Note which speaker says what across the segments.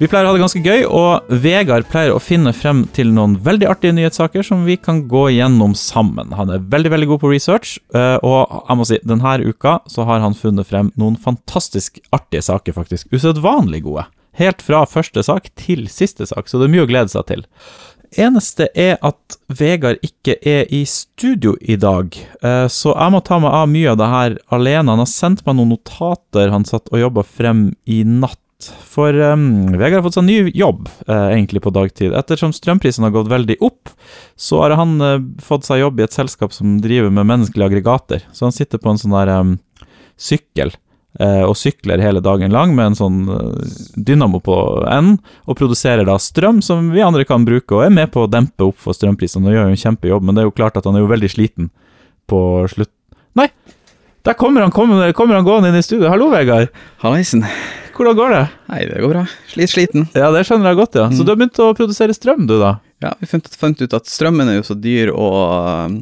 Speaker 1: vi pleier å ha det ganske gøy, og Vegard pleier å finne frem til noen veldig artige nyhetssaker som vi kan gå gjennom sammen. Han er veldig veldig god på research, eh, og jeg må si, denne uka så har han funnet frem noen fantastisk artige saker, faktisk. Usedvanlig gode. Helt fra første sak til siste sak, så det er mye å glede seg til. Eneste er at Vegard ikke er i studio i dag, eh, så jeg må ta meg av mye av det her alene. Han har sendt meg noen notater han satt og jobba frem i natt. For um, Vegard har fått seg ny jobb, eh, egentlig, på dagtid. Ettersom strømprisen har gått veldig opp, så har han eh, fått seg jobb i et selskap som driver med menneskelige aggregater. Så han sitter på en sånn der em, sykkel eh, og sykler hele dagen lang med en sånn eh, dynamo på enden, og produserer da strøm som vi andre kan bruke, og er med på å dempe opp for strømprisene. Og gjør jo en kjempejobb, men det er jo klart at han er jo veldig sliten på slutt... Nei! Der kommer han, kommer, kommer han gående inn i studio. Hallo, Vegard.
Speaker 2: Hallaisen.
Speaker 1: Hvordan går det?
Speaker 2: Hei, det går bra. Slit sliten.
Speaker 1: Ja, det skjønner jeg godt, ja.
Speaker 2: Mm.
Speaker 1: Så du har begynt å produsere strøm, du, da?
Speaker 2: Ja, vi fant, fant ut at strømmen er jo så dyr, og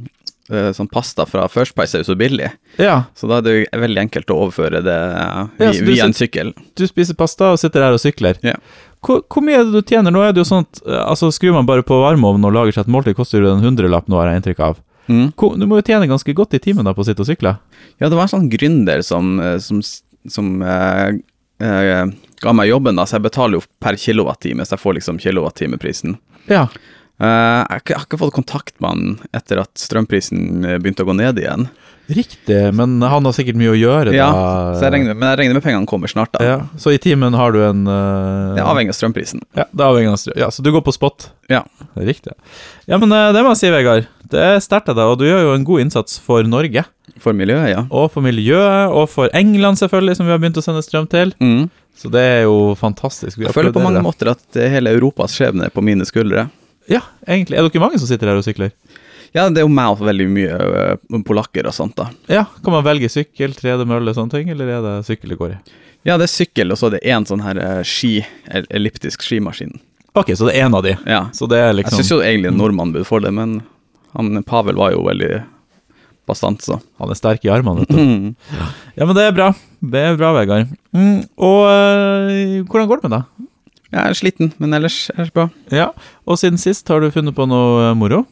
Speaker 2: øh, sånn pasta fra First Price er jo så billig.
Speaker 1: Ja.
Speaker 2: Så da er det jo veldig enkelt å overføre det vi,
Speaker 1: Ja, så du
Speaker 2: via en sykkel.
Speaker 1: Du spiser pasta og sitter her og sykler.
Speaker 2: Ja.
Speaker 1: Hvor, hvor mye er det du tjener? Nå er det jo sånn at eh, altså, skrur man bare på varmeovnen og lager seg et måltid, koster det en hundrelapp nå, har jeg inntrykk av.
Speaker 2: Mm.
Speaker 1: Hvor, du må jo tjene ganske godt i timen da på å sitte og sykle?
Speaker 2: ja, det var en sånn gründer som, øh, som, s- som øh, øh, ga meg jobben, da, så jeg betaler jo per kilowattime, så jeg får liksom kilowattimeprisen.
Speaker 1: Ja.
Speaker 2: Eh, jeg, har ikke- jeg har ikke fått kontakt med han etter at strømprisen øh, begynte å gå ned igjen.
Speaker 1: Riktig, men han har sikkert mye å gjøre,
Speaker 2: Ja,
Speaker 1: da.
Speaker 2: så jeg regner, Men jeg regner med pengene kommer snart, da.
Speaker 1: ja. Så i timen har du en eh,
Speaker 2: Det er avhengig av strømprisen.
Speaker 1: Ja, det er avhengig av strøm. Ja, så du går på spot?
Speaker 2: Ja.
Speaker 1: Det er Riktig. Ja, men eh, det må jeg si, Vegard. Det er sterkt av deg, og du gjør jo en god innsats for Norge.
Speaker 2: For miljøet, ja.
Speaker 1: Og for miljøet, og for England selvfølgelig, som vi har begynt å sende strøm til.
Speaker 2: Mm.
Speaker 1: Så det er jo fantastisk. Vi
Speaker 2: Jeg føler på
Speaker 1: applauderer
Speaker 2: mange
Speaker 1: det.
Speaker 2: måter at eh, hele Europas skjebne er på mine skuldre.
Speaker 1: Ja, egentlig. Er dere mange som sitter her og sykler?
Speaker 2: Ja, det er jo meg og veldig mye eh, polakker og sånt, da.
Speaker 1: Ja, Kan man velge sykkel, 3D-mølle, sånne ting, eller er det sykkel det går i?
Speaker 2: Ja, det er sykkel, og så er det én sånn her eh, ski, el- elliptisk skimaskin.
Speaker 1: Ok, så det er én av de.
Speaker 2: Ja.
Speaker 1: Så det er
Speaker 2: Jeg
Speaker 1: liksom
Speaker 2: syns jo egentlig en nordmann burde få det, men han Pavel var jo veldig bastant, så.
Speaker 1: Han er sterk i armene, vet du.
Speaker 2: Mm.
Speaker 1: Ja, men det er bra. Det er bra, Vegard. Mm, og øh, hvordan går det med deg?
Speaker 2: Jeg er sliten, men ellers er det bra.
Speaker 1: Ja, Og siden sist, har du funnet på noe øh, moro?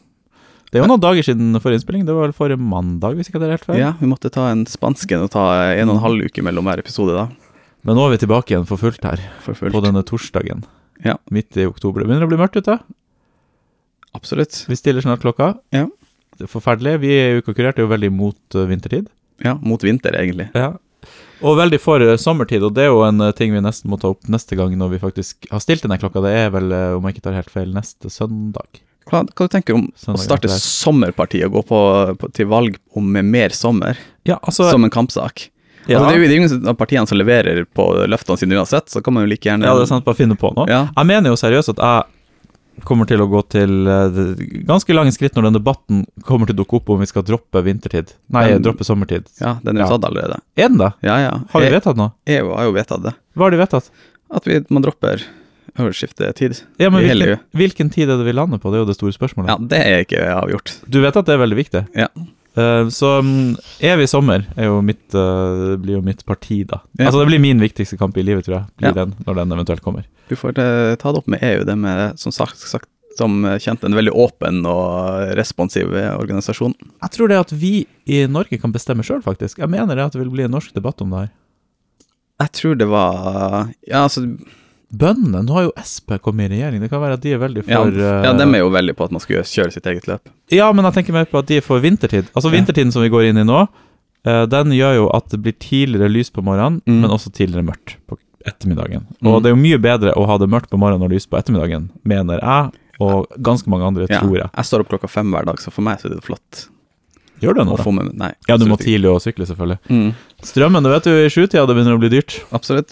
Speaker 1: Det er jo noen dager siden forrige innspilling. Det var vel forrige mandag, hvis ikke det er helt feil?
Speaker 2: Ja, vi måtte ta en spansken og ta eh, en og en halv uke mellom hver episode, da.
Speaker 1: Men nå er vi tilbake igjen for fullt her.
Speaker 2: For fullt.
Speaker 1: på denne torsdagen.
Speaker 2: Ja.
Speaker 1: Midt i oktober. Det begynner å bli mørkt ute.
Speaker 2: Absolutt.
Speaker 1: Vi stiller snart klokka.
Speaker 2: Ja.
Speaker 1: Det er forferdelig. Vi i Uka Kurert er jo veldig mot eh, vintertid.
Speaker 2: Ja, mot vinter, egentlig.
Speaker 1: Og veldig for eh, sommertid, og det er jo en eh, ting vi nesten må ta opp neste gang når vi faktisk har stilt denne klokka. Det er vel, eh, om jeg ikke tar helt feil, neste søndag.
Speaker 2: Hva, hva du tenker om å
Speaker 1: Søndag
Speaker 2: starte
Speaker 1: etter her.
Speaker 2: sommerpartiet og gå på, på, til valg om mer sommer?
Speaker 1: Ja, altså
Speaker 2: som en kampsak.
Speaker 1: ja.
Speaker 2: Altså, det er jo det er jo ingen av partiene som leverer på løftene sine uansett, så kan man jo like gjerne
Speaker 1: Ja, det er sant. Bare finne på noe.
Speaker 2: Ja.
Speaker 1: Jeg mener jo seriøst at jeg kommer til å gå til eh, det- ganske lange skritt når den debatten kommer til å dukke opp om vi skal droppe vintertid. Nei,
Speaker 2: Men-
Speaker 1: droppe sommertid.
Speaker 2: Ja, den er jo
Speaker 1: Ja.
Speaker 2: tatt allerede.
Speaker 1: Er den det?
Speaker 2: Ja, ja.
Speaker 1: Har vi
Speaker 2: E-
Speaker 1: vedtatt noe?
Speaker 2: EU har jo vedtatt det.
Speaker 1: Hva har de vedtatt?
Speaker 2: At vi, man dropper skiftetid.
Speaker 1: Ja, men
Speaker 2: I hele
Speaker 1: hvilken, hvilken tid er det vi lander på? Det er jo det store spørsmålet.
Speaker 2: Ja, det er ikke avgjort.
Speaker 1: Du vet at det er veldig viktig.
Speaker 2: Ja.
Speaker 1: Eh, så mm, evig sommer er jo mitt, eh, blir jo mitt parti, da.
Speaker 2: Ja.
Speaker 1: Altså Det blir min viktigste kamp i livet, tror jeg. Blir
Speaker 2: Ja.
Speaker 1: den, Når den eventuelt kommer.
Speaker 2: Du får eh, ta det opp med EU, det med som sagt, sagt som kjent en veldig åpen og responsiv organisasjon.
Speaker 1: Jeg tror det at vi i Norge kan bestemme sjøl, faktisk. Jeg mener det at det vil bli en norsk debatt om det her.
Speaker 2: Jeg tror det var Ja, altså
Speaker 1: Bøndene Nå har jo Sp kommet i regjering. Det kan være at de er veldig
Speaker 2: Ja,
Speaker 1: for eh,
Speaker 2: ja dem er jo veldig på at man skal gjøre- kjøre sitt eget løp.
Speaker 1: Ja, men jeg tenker mer på at de er for vintertid. Altså
Speaker 2: Ja.
Speaker 1: Vintertiden som vi går inn i nå, eh, den gjør jo at det blir tidligere lys på morgenen,
Speaker 2: Mm.
Speaker 1: men også tidligere mørkt på ettermiddagen.
Speaker 2: Mm.
Speaker 1: Og det er jo mye bedre å ha det mørkt på morgenen og lys på ettermiddagen, mener jeg, og ganske mange andre,
Speaker 2: Ja.
Speaker 1: tror jeg.
Speaker 2: Jeg står opp klokka fem hver dag, så for meg så er det flott.
Speaker 1: Gjør du
Speaker 2: å
Speaker 1: noe? da?
Speaker 2: få med Nei.
Speaker 1: Ja, du må
Speaker 2: absolutt ikke.
Speaker 1: tidlig å sykle, selvfølgelig.
Speaker 2: Mm,
Speaker 1: Strømmen, det vet du, i sjutida det begynner å bli dyrt.
Speaker 2: absolutt.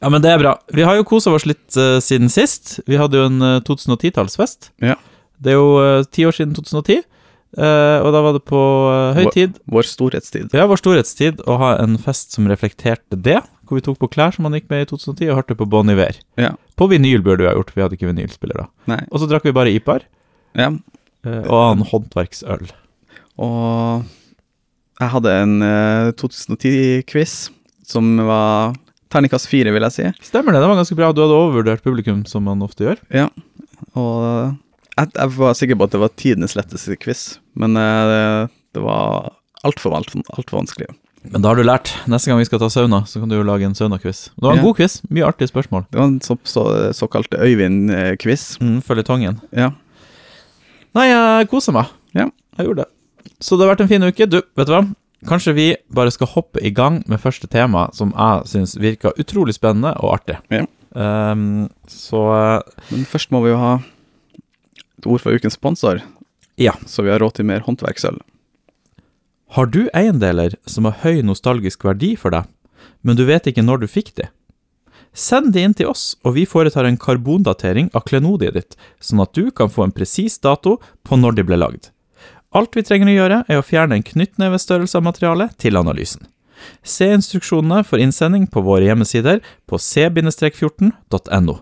Speaker 1: Ja, men det er bra. Vi har jo kosa oss litt eh, siden sist. Vi hadde jo en eh, 2010-tallsfest.
Speaker 2: Ja.
Speaker 1: Det er jo eh, ti år siden 2010, eh, og da var det på eh, høy
Speaker 2: Hva-
Speaker 1: tid,
Speaker 2: Vår storhetstid.
Speaker 1: ja, vår storhetstid, å ha en fest som reflekterte det. Hvor vi tok på klær som man gikk med i 2010, og hørte på Bon Iver.
Speaker 2: Ja.
Speaker 1: På vinyl burde vi ha gjort, vi hadde ikke vinylspiller da.
Speaker 2: Nei.
Speaker 1: Og så drakk vi bare IPAR
Speaker 2: Ja.
Speaker 1: eh, og annen håndverksøl.
Speaker 2: Og jeg hadde en eh, 2010-quiz som var terningkast fire, vil jeg si.
Speaker 1: Stemmer det, det var ganske bra. Du hadde overvurdert publikum, som man ofte gjør.
Speaker 2: Ja. Og jeg, jeg var sikker på at det var tidenes letteste quiz, men eh, det var altfor alt, alt for vanskelig.
Speaker 1: Men da har du lært. Neste gang vi skal ta sauna, så kan du jo lage en saunakviss. Det var en
Speaker 2: Ja.
Speaker 1: god quiz. Mye artige spørsmål.
Speaker 2: Det var en så, så, såkalt Øyvind-quiz.
Speaker 1: Mm, Føljetongen.
Speaker 2: Ja.
Speaker 1: Nei, jeg koser meg.
Speaker 2: Ja.
Speaker 1: Jeg gjorde det. Så det har vært en fin uke. Du, vet du hva? Kanskje vi bare skal hoppe i gang med første tema, som jeg syns virka utrolig spennende og artig.
Speaker 2: Ja.
Speaker 1: Ehm, så eh,
Speaker 2: Men først må vi jo ha et ord fra ukens sponsor,
Speaker 1: Ja.
Speaker 2: så vi har råd til mer håndverksøl.
Speaker 1: har du eiendeler som har høy nostalgisk verdi for deg, men du vet ikke når du fikk de? Send de inn til oss, og vi foretar en karbondatering av klenodiet ditt, sånn at du kan få en presis dato på når de ble lagd. Alt vi trenger å gjøre, er å fjerne en knyttnevestørrelse av materialet til analysen. Se instruksjonene for innsending på våre hjemmesider på c-14.no.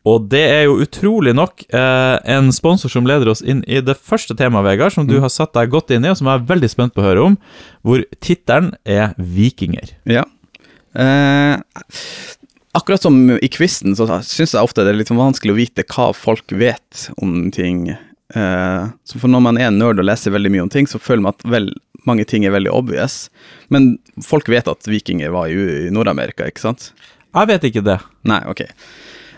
Speaker 1: Og det er jo utrolig nok eh, en sponsor som leder oss inn i det første temaet, Vegard, som du
Speaker 2: Mm.
Speaker 1: har satt deg godt inn i, og som jeg er veldig spent på å høre om, hvor tittelen er Vikinger.
Speaker 2: Ja. Eh, akkurat som i quizen, så syns jeg ofte det er litt vanskelig å vite hva folk vet om ting. Eh, så for når man er nerd og leser veldig mye om ting, så føler man at vel, mange ting er veldig obvious. Men folk vet at vikinger var i, i Nord-Amerika, ikke sant?
Speaker 1: Jeg vet ikke det.
Speaker 2: Nei, ok.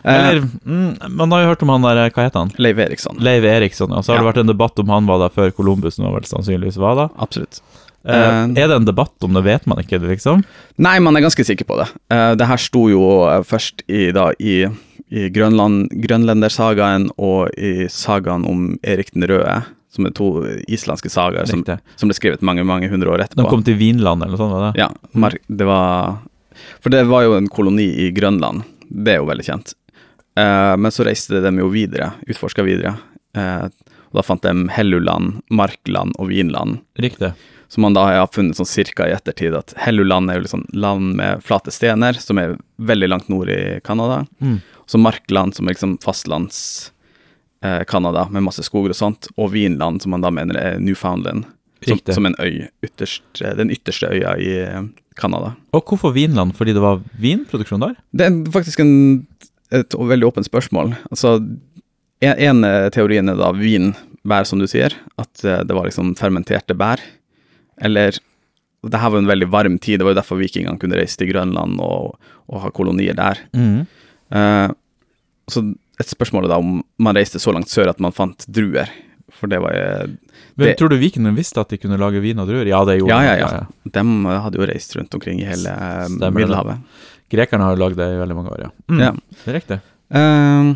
Speaker 2: Eh,
Speaker 1: Eller, mm, man har jo hørt om han der, hva heter han?
Speaker 2: Leiv Eriksson.
Speaker 1: Leiv Eriksson, og så har det
Speaker 2: Ja.
Speaker 1: vært en debatt om han var der før Columbus nå vel sannsynligvis var da.
Speaker 2: Absolutt.
Speaker 1: Eh,
Speaker 2: Eh,
Speaker 1: er det en debatt om det, vet man ikke, liksom?
Speaker 2: Nei, man er ganske sikker på det. Eh, det her sto jo eh, først i, da, i, i Grønland, Grønlendersagaen og i sagaen om Erik den røde, som er to islandske sagaer som,
Speaker 1: Riktig.
Speaker 2: som ble skrevet mange mange hundre år
Speaker 1: De
Speaker 2: etterpå.
Speaker 1: kom til Vinland eller noe sånt, var det?
Speaker 2: Ja, Mar det var For det var jo en koloni i Grønland, det er jo veldig kjent. Eh, men så reiste de jo videre, utforska videre. Eh, og da fant de Helluland, Markland og Vinland.
Speaker 1: Riktig.
Speaker 2: Som man da har funnet sånn cirka i ettertid, at Helluland er jo liksom land med flate stener, som er veldig langt nord i Canada.
Speaker 1: Mm.
Speaker 2: Så Markland, som er liksom fastlands-Canada, med masse skoger og sånt. Og Vinland, som man da mener er Newfoundland. Som,
Speaker 1: Riktig.
Speaker 2: som en øy. Ytterst, eh, den ytterste øya i eh, Canada.
Speaker 1: Og hvorfor Vinland? Fordi det var vinproduksjon der?
Speaker 2: Det er faktisk en, et veldig åpent spørsmål. Altså, en, en eh, teorien er da vinbær, som du sier. At eh, det var liksom fermenterte bær. Eller Det her var jo en veldig varm tid, det var jo derfor vikingene kunne reise til Grønland og, og ha kolonier der.
Speaker 1: Mm.
Speaker 2: Eh, så et spørsmål er da om man reiste så langt sør at man fant druer. For det var eh,
Speaker 1: Men
Speaker 2: Det-
Speaker 1: tror du vikingene visste at de kunne lage vin og druer? Ja, det gjorde
Speaker 2: Ja,
Speaker 1: de,
Speaker 2: ja, ja. Dem hadde jo reist rundt omkring i hele eh,
Speaker 1: Stemmer det.
Speaker 2: Middelhavet.
Speaker 1: Grekerne har jo lagd det i veldig mange år, ja. Mm,
Speaker 2: Ja.
Speaker 1: Det er riktig.
Speaker 2: Eh,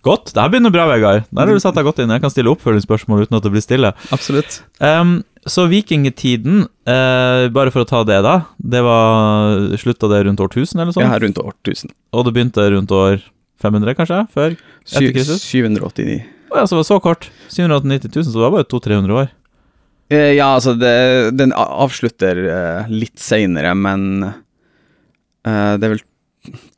Speaker 1: Godt. Det her begynner bra, Vegard. Der har du satt deg godt inn. Jeg kan stille oppfølgingsspørsmål uten at det blir stille.
Speaker 2: absolutt.
Speaker 1: Ehm, så vikingtiden, eh, bare for å ta det, da. Det var slutta det rundt årtusen, eller sånn?
Speaker 2: Ja, rundt årtusen.
Speaker 1: Og det begynte rundt år 500, kanskje? Før? Etter
Speaker 2: Sy-
Speaker 1: Kristus?
Speaker 2: 789.
Speaker 1: Å ja, så det var så kort. 790 000, så det var bare 200-300 år.
Speaker 2: Eh, Ja, altså, det, den a- avslutter eh, litt seinere, men eh, det er vel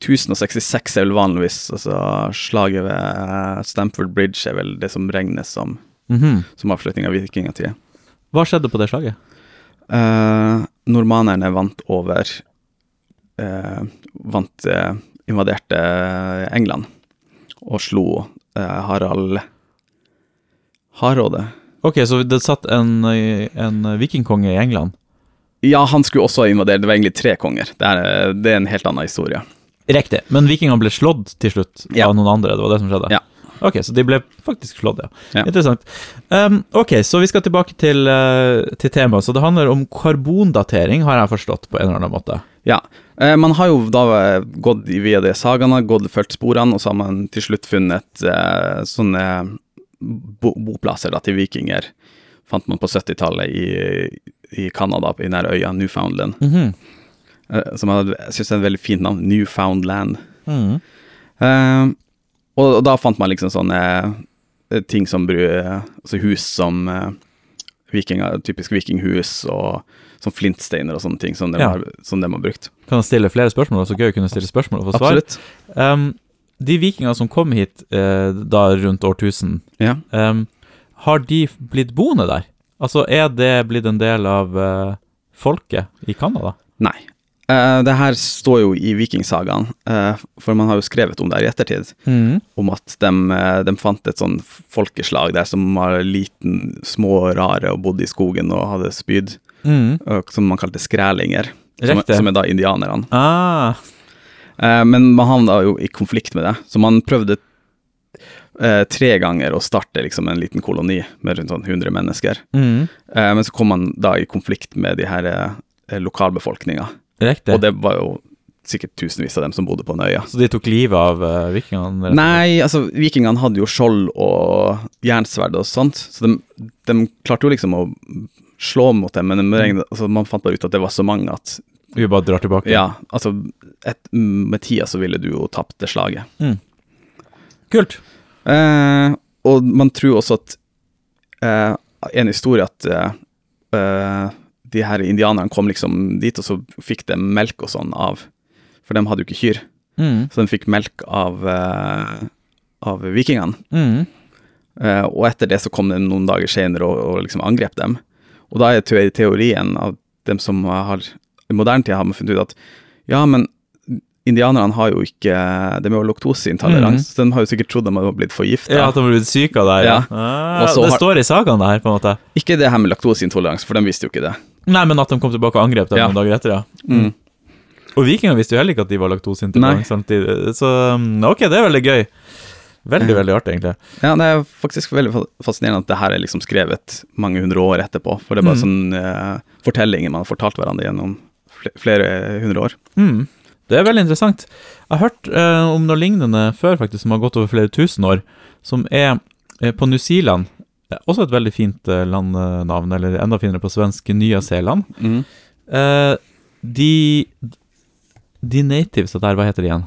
Speaker 2: 1066 er vel vanligvis, altså slaget ved eh, Stamford Bridge er vel det som regnes som,
Speaker 1: Mhm.
Speaker 2: som avslutning av vikingtida.
Speaker 1: Hva skjedde på det slaget?
Speaker 2: Eh, nordmanerne vant over eh, Vant eh, invaderte England og slo eh, Harald Hardråde.
Speaker 1: Ok, så det satt en, eh, en vikingkonge i England.
Speaker 2: Ja, han skulle også invadere. Det var egentlig tre konger. Det er, eh, det er en helt annen historie.
Speaker 1: Riktig. Men vikingene ble slått til slutt
Speaker 2: Ja.
Speaker 1: av noen andre. Det var det som skjedde?
Speaker 2: Ja.
Speaker 1: Ok, så de ble faktisk slått, ja.
Speaker 2: Ja.
Speaker 1: Interessant. Um, ok, så vi skal tilbake til, eh, til temaet. Så det handler om karbondatering, har jeg forstått, på en eller annen måte.
Speaker 2: Ja. Eh, man har jo da eh, gått via de sagaene, gått fulgt sporene, og så har man til slutt funnet eh, sånne bo boplasser da, til vikinger. Fant man på 70-tallet i, i Canada, i nær øya Newfoundland.
Speaker 1: Mhm.
Speaker 2: eh, som jeg hadde- jeg syns er et veldig fint navn, Newfoundland.
Speaker 1: Mm.
Speaker 2: Eh, og, og da fant man liksom sånne eh, ting som bru- altså hus som eh, vikinger, typisk vikinghus, og sånn flintsteiner og sånne ting som de,
Speaker 1: Ja.
Speaker 2: har, som de har brukt.
Speaker 1: Kan jeg stille flere spørsmål? Det er så gøy å kunne stille spørsmål og få svar.
Speaker 2: Absolutt.
Speaker 1: Um, de vikingene som kom hit eh, da rundt årtusen,
Speaker 2: Ja.
Speaker 1: um, har de blitt boende der? Altså, er det blitt en del av eh, folket i Canada?
Speaker 2: Nei. Eh, det her står jo i vikingsagaen, eh, for man har jo skrevet om det her i ettertid. om at de, de fant et sånn folkeslag der som var liten, små og rare og bodde i skogen og hadde spyd,
Speaker 1: Mm.
Speaker 2: og som man kalte skrælinger, som,
Speaker 1: Riktig.
Speaker 2: som er da indianerne.
Speaker 1: Ah,
Speaker 2: Eh, men man havna jo i konflikt med det, så man prøvde eh, tre ganger å starte liksom en liten koloni med rundt sånn 100 mennesker.
Speaker 1: mm.
Speaker 2: Eh, men så kom man da i konflikt med de her eh, lokalbefolkninga,
Speaker 1: Riktig.
Speaker 2: og det var jo sikkert tusenvis av dem som bodde på en øya.
Speaker 1: Så de tok livet av eh, vikingene? rett og slett?
Speaker 2: Nei, altså vikingene hadde jo skjold og jernsverd og sånt, så de, de klarte jo liksom å slå mot dem, men de regnet, altså, man fant bare ut at det var så mange at
Speaker 1: Vi bare drar tilbake?
Speaker 2: Ja, altså et, med tida så ville du jo tapt det slaget.
Speaker 1: Kult.
Speaker 2: Eh, og man tror også at eh, En historie at eh, eh, de her indianerne kom liksom dit, og så fikk de melk og sånn av For de hadde jo ikke kyr,
Speaker 1: Mm.
Speaker 2: så de fikk melk av, eh, av vikingene.
Speaker 1: Mm.
Speaker 2: Eh, og etter det så kom det noen dager senere og, og liksom angrep dem. Og da er te teorien av dem som har I moderne tid har man funnet ut at ja, men indianerne har jo ikke De er jo laktoseintolerante,
Speaker 1: Mhm.
Speaker 2: så de har jo sikkert trodd de hadde blitt forgifta.
Speaker 1: Ja, at de ble blitt syke av det her,
Speaker 2: Ja.
Speaker 1: Ah,
Speaker 2: Og så
Speaker 1: det
Speaker 2: har-
Speaker 1: står i sagaen, det her, på en måte.
Speaker 2: Ikke det her med laktoseintoleranse, for de visste jo ikke det. Mm.
Speaker 1: Nei, men at de kom tilbake og angrep dem
Speaker 2: Ja.
Speaker 1: noen dager etter, ja. Og vikingene visste jo heller ikke at de var
Speaker 2: Nei.
Speaker 1: laktoseintolerante samtidig. Så mm, ok, det er veldig gøy. Veldig, veldig artig, egentlig.
Speaker 2: Ja, det er faktisk veldig fa- fascinerende at det her er liksom skrevet mange hundre år etterpå. For det er
Speaker 1: Mhm.
Speaker 2: bare sånn eh, fortellinger man har fortalt hverandre gjennom fl- flere hundre år.
Speaker 1: Mm. Det er veldig interessant. Jeg har hørt eh, om noe lignende før, faktisk, som har gått over flere tusen år, som er eh, på New Zealand. Det er Også et veldig fint eh, landnavn, eller enda finere på svensk, Nya-Zeeland. Eh, de De natives der, hva heter de igjen?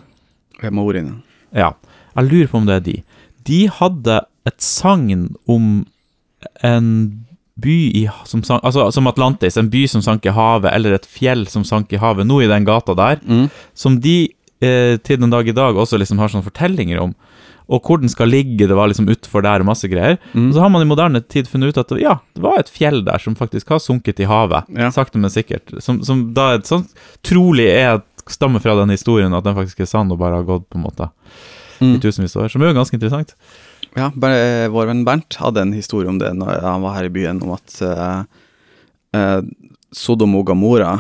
Speaker 2: Maoriene.
Speaker 1: Ja. Jeg lurer på om det er de. De hadde et sagn om en by i, som, sank, altså, som Atlantis, en by som sank i havet, eller et fjell som sank i havet, nå i den gata der, som de eh, til den dag i dag også liksom har sånne fortellinger om. Og hvor den skal ligge, det var liksom utfor der, og masse greier.
Speaker 2: Mm.
Speaker 1: Og så har man i moderne tid funnet ut at det- ja, det var et fjell der som faktisk har sunket i havet,
Speaker 2: Ja.
Speaker 1: sakte, men sikkert. Som, som da er et sånt, trolig er stammer fra den historien at den faktisk er sann og bare har gått på en måte
Speaker 2: Mm.
Speaker 1: i tusenvis av år, som er jo ganske interessant.
Speaker 2: Ja, bare, eh, vår venn Bernt hadde en historie om det når han var her i byen, om at eh, eh, Sodom og Gamora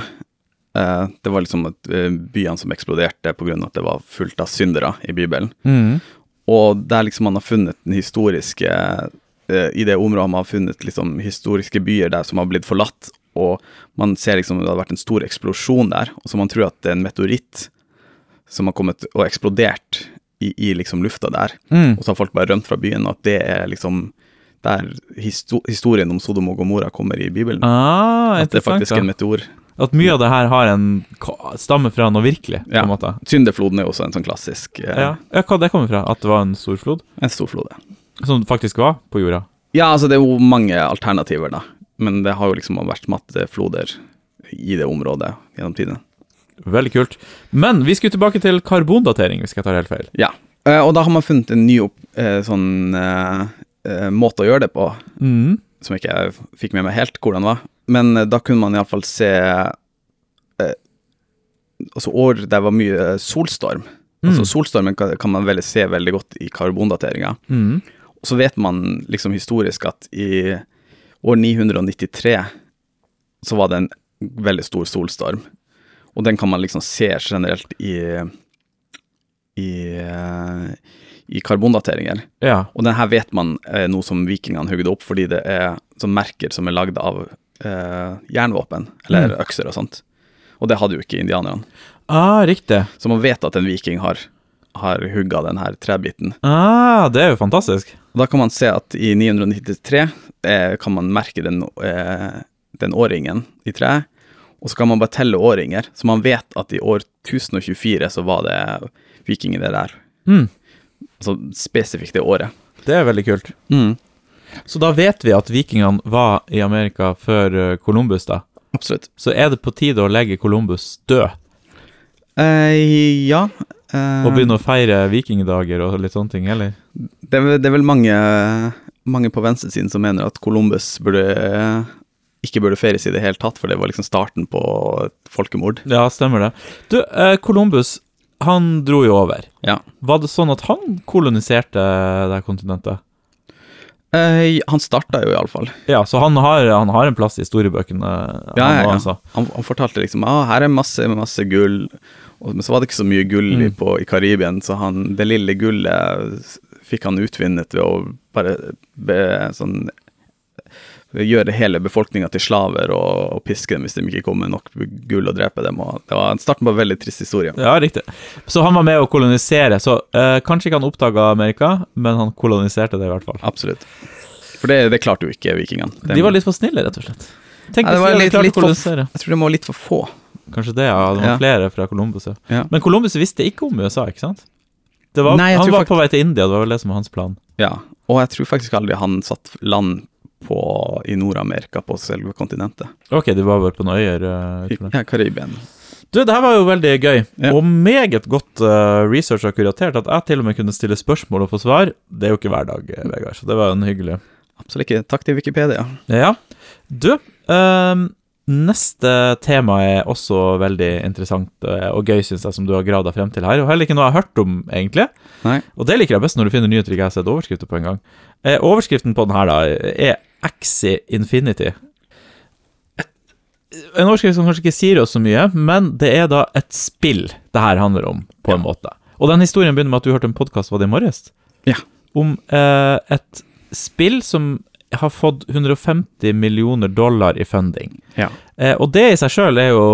Speaker 2: eh, Det var liksom at, eh, byene som eksploderte pga. at det var fullt av syndere i Bibelen.
Speaker 1: Mm.
Speaker 2: Og der liksom han har funnet den historiske eh, I det området man har funnet liksom historiske byer der som har blitt forlatt, og man ser liksom det har vært en stor eksplosjon der, og så man tror at det er en meteoritt som har kommet og eksplodert i, i liksom lufta der.
Speaker 1: Mm.
Speaker 2: Og så har folk bare rømt fra byen, og at det er liksom der histo historien om Sodom og Gomorra kommer i Bibelen.
Speaker 1: Ah,
Speaker 2: at det er
Speaker 1: interessant.
Speaker 2: faktisk en
Speaker 1: Da.
Speaker 2: meteor.
Speaker 1: At mye av det her har en ko- stammer fra noe virkelig,
Speaker 2: Ja.
Speaker 1: på en måte.
Speaker 2: Syndefloden er jo også en sånn klassisk eh,
Speaker 1: Ja. ja, hva det kommer fra? At det var en stor flod?
Speaker 2: En stor flod, ja.
Speaker 1: Som det faktisk var på jorda?
Speaker 2: Ja, altså det er jo mange alternativer, da. Men det har jo liksom vært matte floder i det området gjennom tidene.
Speaker 1: Veldig kult. Men vi skulle tilbake til karbondatering, hvis jeg ikke tar helt feil.
Speaker 2: Ja. Eh, Og da har man funnet en ny opp, eh, sånn eh, eh, måte å gjøre det på,
Speaker 1: Mm.
Speaker 2: som ikke jeg fikk med meg helt hvordan var. Men eh, da kunne man iallfall se eh, Altså år der var mye eh, solstorm. Altså Solstormen kan kan man vel se veldig godt i karbondateringa.
Speaker 1: Mhm.
Speaker 2: Og så vet man liksom historisk at i år 993 så var det en veldig stor solstorm. Og den kan man liksom se generelt i i, eh, i karbondateringer.
Speaker 1: Ja.
Speaker 2: Og den her vet man er noe som vikingene hugde opp fordi det er sånn merker som er lagd av eh, jernvåpen, eller økser og sånt. Og det hadde jo ikke indianerne.
Speaker 1: Ah, riktig.
Speaker 2: Så man vet at en viking har, har hugga den her trebiten.
Speaker 1: Ah, det er jo fantastisk.
Speaker 2: Og Da kan man se at i 993 eh, kan man merke den, eh, den årringen i treet, Og så kan man bare telle årringer, så man vet at i år 1024 så var det vikinger der.
Speaker 1: Mm.
Speaker 2: Altså spesifikt det året.
Speaker 1: Det er veldig kult. Så da vet vi at vikingene var i Amerika før eh, Columbus, da.
Speaker 2: Absolutt.
Speaker 1: Så er det på tide å legge Columbus død,
Speaker 2: Eh, ja. eh,
Speaker 1: og begynne å feire vikingdager og litt sånne ting, eller?
Speaker 2: eh, det, er, vel- det er vel mange, mange på venstresiden som mener at Columbus burde, eh, ikke burde feires i det hele tatt, for det var liksom starten på et folkemord.
Speaker 1: Ja, stemmer det. Du, eh, Columbus, han dro jo over.
Speaker 2: Ja.
Speaker 1: Var det sånn at han koloniserte det her kontinentet?
Speaker 2: Eh, han starta jo iallfall.
Speaker 1: Ja, så han har, han har en plass i historiebøkene. han
Speaker 2: Ja, ja,
Speaker 1: nå,
Speaker 2: ja.
Speaker 1: altså.
Speaker 2: Han, han fortalte liksom at ah, her er masse, masse gull, og, men så var det ikke så mye gull i-
Speaker 1: Mm.
Speaker 2: på, i Karibien, så han, det lille gullet s- fikk han utvinnet ved å bare be, sånn, gjøre hele befolkninga til slaver og, og piske dem hvis de ikke kom med nok gull og drepe dem. Og det var starten på en veldig trist historie.
Speaker 1: Ja, riktig. Så han var med å kolonisere. Så eh, kanskje ikke han oppdaga Amerika, men han koloniserte det i hvert fall.
Speaker 2: Absolutt. For det, det klarte jo ikke vikingene.
Speaker 1: De var litt for snille, rett og slett. Tenk
Speaker 2: Ja,
Speaker 1: hvis
Speaker 2: det var
Speaker 1: de hadde
Speaker 2: litt-
Speaker 1: klart
Speaker 2: litt
Speaker 1: å
Speaker 2: for-
Speaker 1: kolonisere.
Speaker 2: Jeg tror de var litt for få.
Speaker 1: Kanskje det, ja. Det var
Speaker 2: Ja.
Speaker 1: flere fra Columbus, ja.
Speaker 2: Ja.
Speaker 1: Men Columbus visste ikke om USA, ikke sant? Det var,
Speaker 2: Nei, jeg
Speaker 1: han
Speaker 2: tror
Speaker 1: var
Speaker 2: fakt-
Speaker 1: på vei til India, det var vel det som var hans plan.
Speaker 2: Ja, og jeg tror faktisk aldri han satt land på, i Nord-Amerika, på selve kontinentet.
Speaker 1: Ok, de var bare på noen øyer. eh,
Speaker 2: I,
Speaker 1: utenfor der.
Speaker 2: ja, Karibien.
Speaker 1: Du, det her var jo veldig gøy,
Speaker 2: Ja.
Speaker 1: og meget godt eh, research og kuratert. At jeg til og med kunne stille spørsmål og få svar, det er jo ikke hver dag, eh, Vegard, så det var jo en hyggelig
Speaker 2: Absolutt ikke. Takk til Wikipedia.
Speaker 1: Ja. Du, ehm, neste tema er også veldig interessant eh, og gøy, syns jeg, som du har gravd deg frem til her. Og heller ikke noe jeg har hørt om, egentlig.
Speaker 2: Nei.
Speaker 1: Og det liker jeg best når du finner nyheter ikke jeg har sett overskrifter på engang. Eh, overskriften på den her, da, er Axie Infinity. En overskrift som kanskje ikke sier oss så mye, men det er da et spill det her handler om, på en måte. Og den historien begynner med at du hørte en podkast, var det i morges?
Speaker 2: Ja.
Speaker 1: Om eh, et spill som har fått 150 millioner dollar i funding.
Speaker 2: Ja.
Speaker 1: Eh, og det i seg sjøl er jo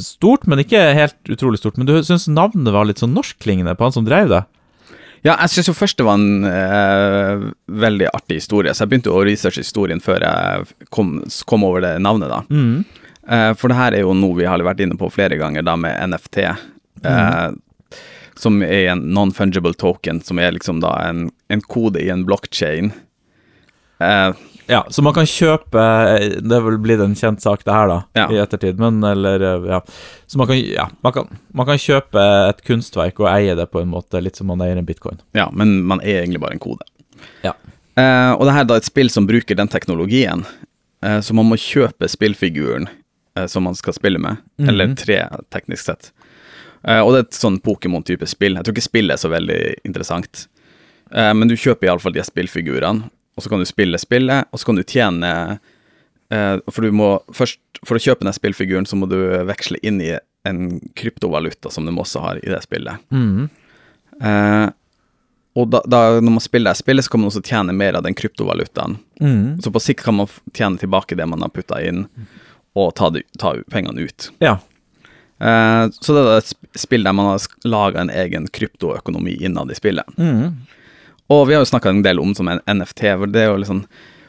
Speaker 1: stort, men ikke helt utrolig stort. Men du syns navnet var litt sånn norskklingende på han som drev det?
Speaker 2: ja jeg syns jo først det var en eh, veldig artig historie, så jeg begynte å researche historien før jeg kom, kom over det navnet, da.
Speaker 1: Mm.
Speaker 2: Eh, for det her er jo noe vi har vært inne på flere ganger, da med NFT. eh, Som er en non-fungible token, som er liksom da en, en kode i en Eh, blokkjede.
Speaker 1: Ja, så man kan kjøpe eh, Det er vel blitt en kjent sak, det her, da,
Speaker 2: Ja.
Speaker 1: i ettertid, men eller eh, Ja. Så man kan, ja, man, kan, man kan kjøpe et kunstverk og eie det på en måte, litt som man eier en bitcoin.
Speaker 2: Ja, men man er egentlig bare en kode.
Speaker 1: Ja.
Speaker 2: Eh, og det her er da et spill som bruker den teknologien, eh, så man må kjøpe spillfiguren eh, som man skal spille med, eller tre teknisk sett. Eh, og det er et sånn Pokémon-type spill. Jeg tror ikke spillet er så veldig interessant, eh, men du kjøper iallfall de spillfigurene, og så kan du spille spillet, og så kan du tjene eh, For du må først, for å kjøpe den spillfiguren, så må du veksle inn i en kryptovaluta som de også har i det spillet.
Speaker 1: Mhm.
Speaker 2: Eh, og da, da, når man spiller det spillet, så kan man også tjene mer av den kryptovalutaen.
Speaker 1: Mhm.
Speaker 2: Så på sikt kan man f- tjene tilbake det man har putta inn, og ta, det, ta pengene ut.
Speaker 1: Ja.
Speaker 2: Eh, så det er da et sp- spill der man har laga en egen kryptoøkonomi innad i spillet.
Speaker 1: Mhm.
Speaker 2: Og vi har jo snakka en del om som en NFT, for det er jo liksom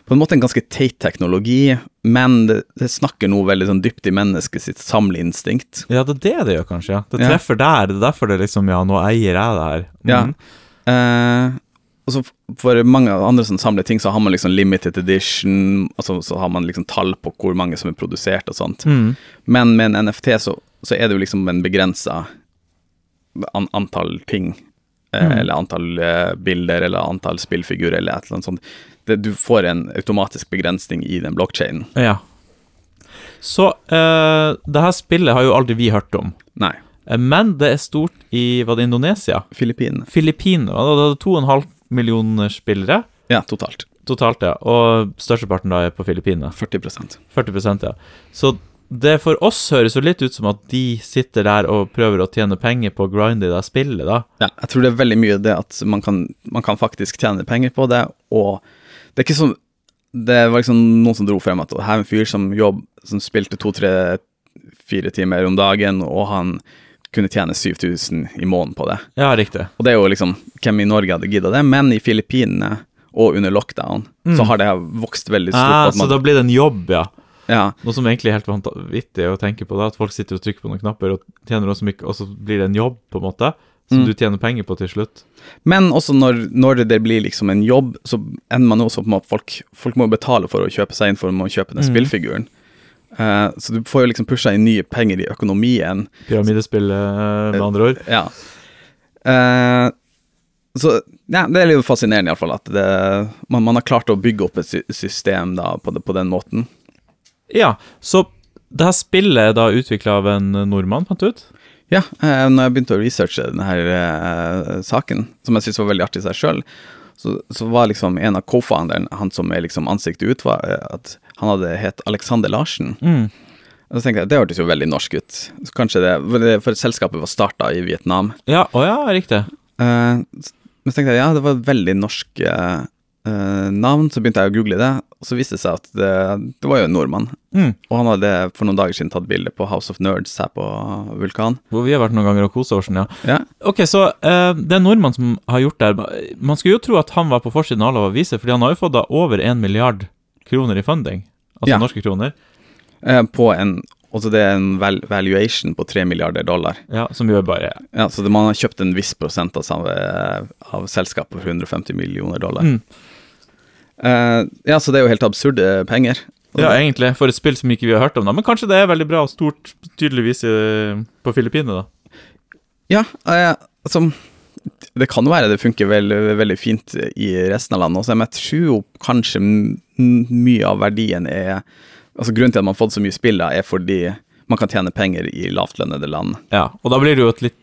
Speaker 2: på en måte en ganske teit teknologi, men det, det snakker noe veldig sånn dypt i mennesket sitt samleinstinkt.
Speaker 1: ja, det er det det gjør, kanskje. ja Det
Speaker 2: Ja.
Speaker 1: treffer der. Det er derfor det liksom Ja, nå eier jeg det her.
Speaker 2: Ja.
Speaker 1: Mhm.
Speaker 2: Eh, og så f- for mange andre som samler ting, så har man liksom limited edition, altså så har man liksom tall på hvor mange som er produsert og sånt.
Speaker 1: Mhm.
Speaker 2: Men med en NFT så, så er det jo liksom en begrensa an, antall ting. eh, Eller antall eh, bilder, eller antall spillfigurer, eller et eller annet sånt. Det, du får en automatisk begrensning i den blokkjeden.
Speaker 1: ja. Så eh, det her spillet har jo aldri vi hørt om,
Speaker 2: Nei,
Speaker 1: Eh, men det er stort i Var det Indonesia?
Speaker 2: Filippinene.
Speaker 1: Filippinene. og Det er 2,5 millioner spillere.
Speaker 2: Ja, totalt.
Speaker 1: Totalt, ja. Og størsteparten da er på Filippinene.
Speaker 2: 40
Speaker 1: 40 ja. Så det for oss høres jo litt ut som at de sitter der og prøver å tjene penger på å grinde i det spillet, da.
Speaker 2: Ja, jeg tror det er veldig mye det at man kan, man kan faktisk tjene penger på det, og det er ikke sånn Det var liksom noen som dro frem at her er en fyr som jobb, som spilte to, tre, fire timer om dagen, og han kunne tjene 7000 i måneden på det.
Speaker 1: Ja, riktig.
Speaker 2: Og det er jo liksom Hvem i Norge hadde gidda det? Men i Filippinene og under lockdown Mm. så har det vokst veldig stort.
Speaker 1: Ah,
Speaker 2: at man,
Speaker 1: Så da blir det en jobb, ja.
Speaker 2: Ja,
Speaker 1: Noe som egentlig er helt vanvittig å tenke på, da, at folk sitter og trykker på noen knapper og tjener også mye, og så blir det en jobb, på en måte, som
Speaker 2: Mm.
Speaker 1: du tjener penger på til slutt.
Speaker 2: Men også når, når det blir liksom en jobb, så ender man også på med at folk, folk må betale for å kjøpe seg inn for å kjøpe den
Speaker 1: Mhm.
Speaker 2: spillfiguren. Eh, så du får jo liksom pusha inn nye penger i økonomien.
Speaker 1: Pyramidespill, eh, med andre ord.
Speaker 2: Ja. Eh, så ja, det er litt fascinerende iallfall at det, man, man har klart å bygge opp et sy system da, på, det, på den måten.
Speaker 1: Ja, så det her spillet er da utvikla av en nordmann, fant du ut?
Speaker 2: Ja, eh, når jeg begynte å researche denne her, eh, saken, som jeg syntes var veldig artig i seg sjøl, så, så var liksom en av co-founderen, han som er liksom ansiktet ut, var, eh, at han hadde het Alexander Larsen.
Speaker 1: Mm.
Speaker 2: Og så tenkte jeg, Det hørtes jo veldig norsk ut, så kanskje det, for det- for selskapet var starta i Vietnam.
Speaker 1: Ja, å ja, riktig.
Speaker 2: Eh, s- men så tenkte jeg ja, det var et veldig norsk eh, eh, navn, så begynte jeg å google det, og så viste det seg at det, det var jo en nordmann.
Speaker 1: Mm.
Speaker 2: Og han hadde for noen dager siden tatt bilde på House of Nerds her på Vulkan.
Speaker 1: Hvor vi har vært noen ganger og kosa oss, ja.
Speaker 2: Ja,
Speaker 1: Ok, så eh, det er en nordmann som har gjort det her. Man skulle jo tro at han var på forsiden av alle aviser, fordi han har jo fått da over en milliard kroner i funding. Altså
Speaker 2: Ja.
Speaker 1: norske kroner.
Speaker 2: Eh, på en Altså det er en val valuation på 3 milliarder dollar.
Speaker 1: Ja, som jo er bare
Speaker 2: Ja, så det, man har kjøpt en viss prosent av, samme, eh, av selskapet for 150 millioner dollar.
Speaker 1: Mm.
Speaker 2: Eh, ja, så det er jo helt absurde penger. Og
Speaker 1: Ja,
Speaker 2: det-
Speaker 1: egentlig. For et spill som ikke vi har hørt om, da. Men kanskje det er veldig bra og stort, tydeligvis, i- på Filippinene, da.
Speaker 2: Ja, eh, altså Det kan jo være det funker vel, veldig fint i resten av landet også, men jeg tror jo kanskje m- m- mye av verdien er Altså Grunnen til at man har fått så mye spill, da, er fordi man kan tjene penger i lavtlønnede land.
Speaker 1: Ja, og da blir det jo et litt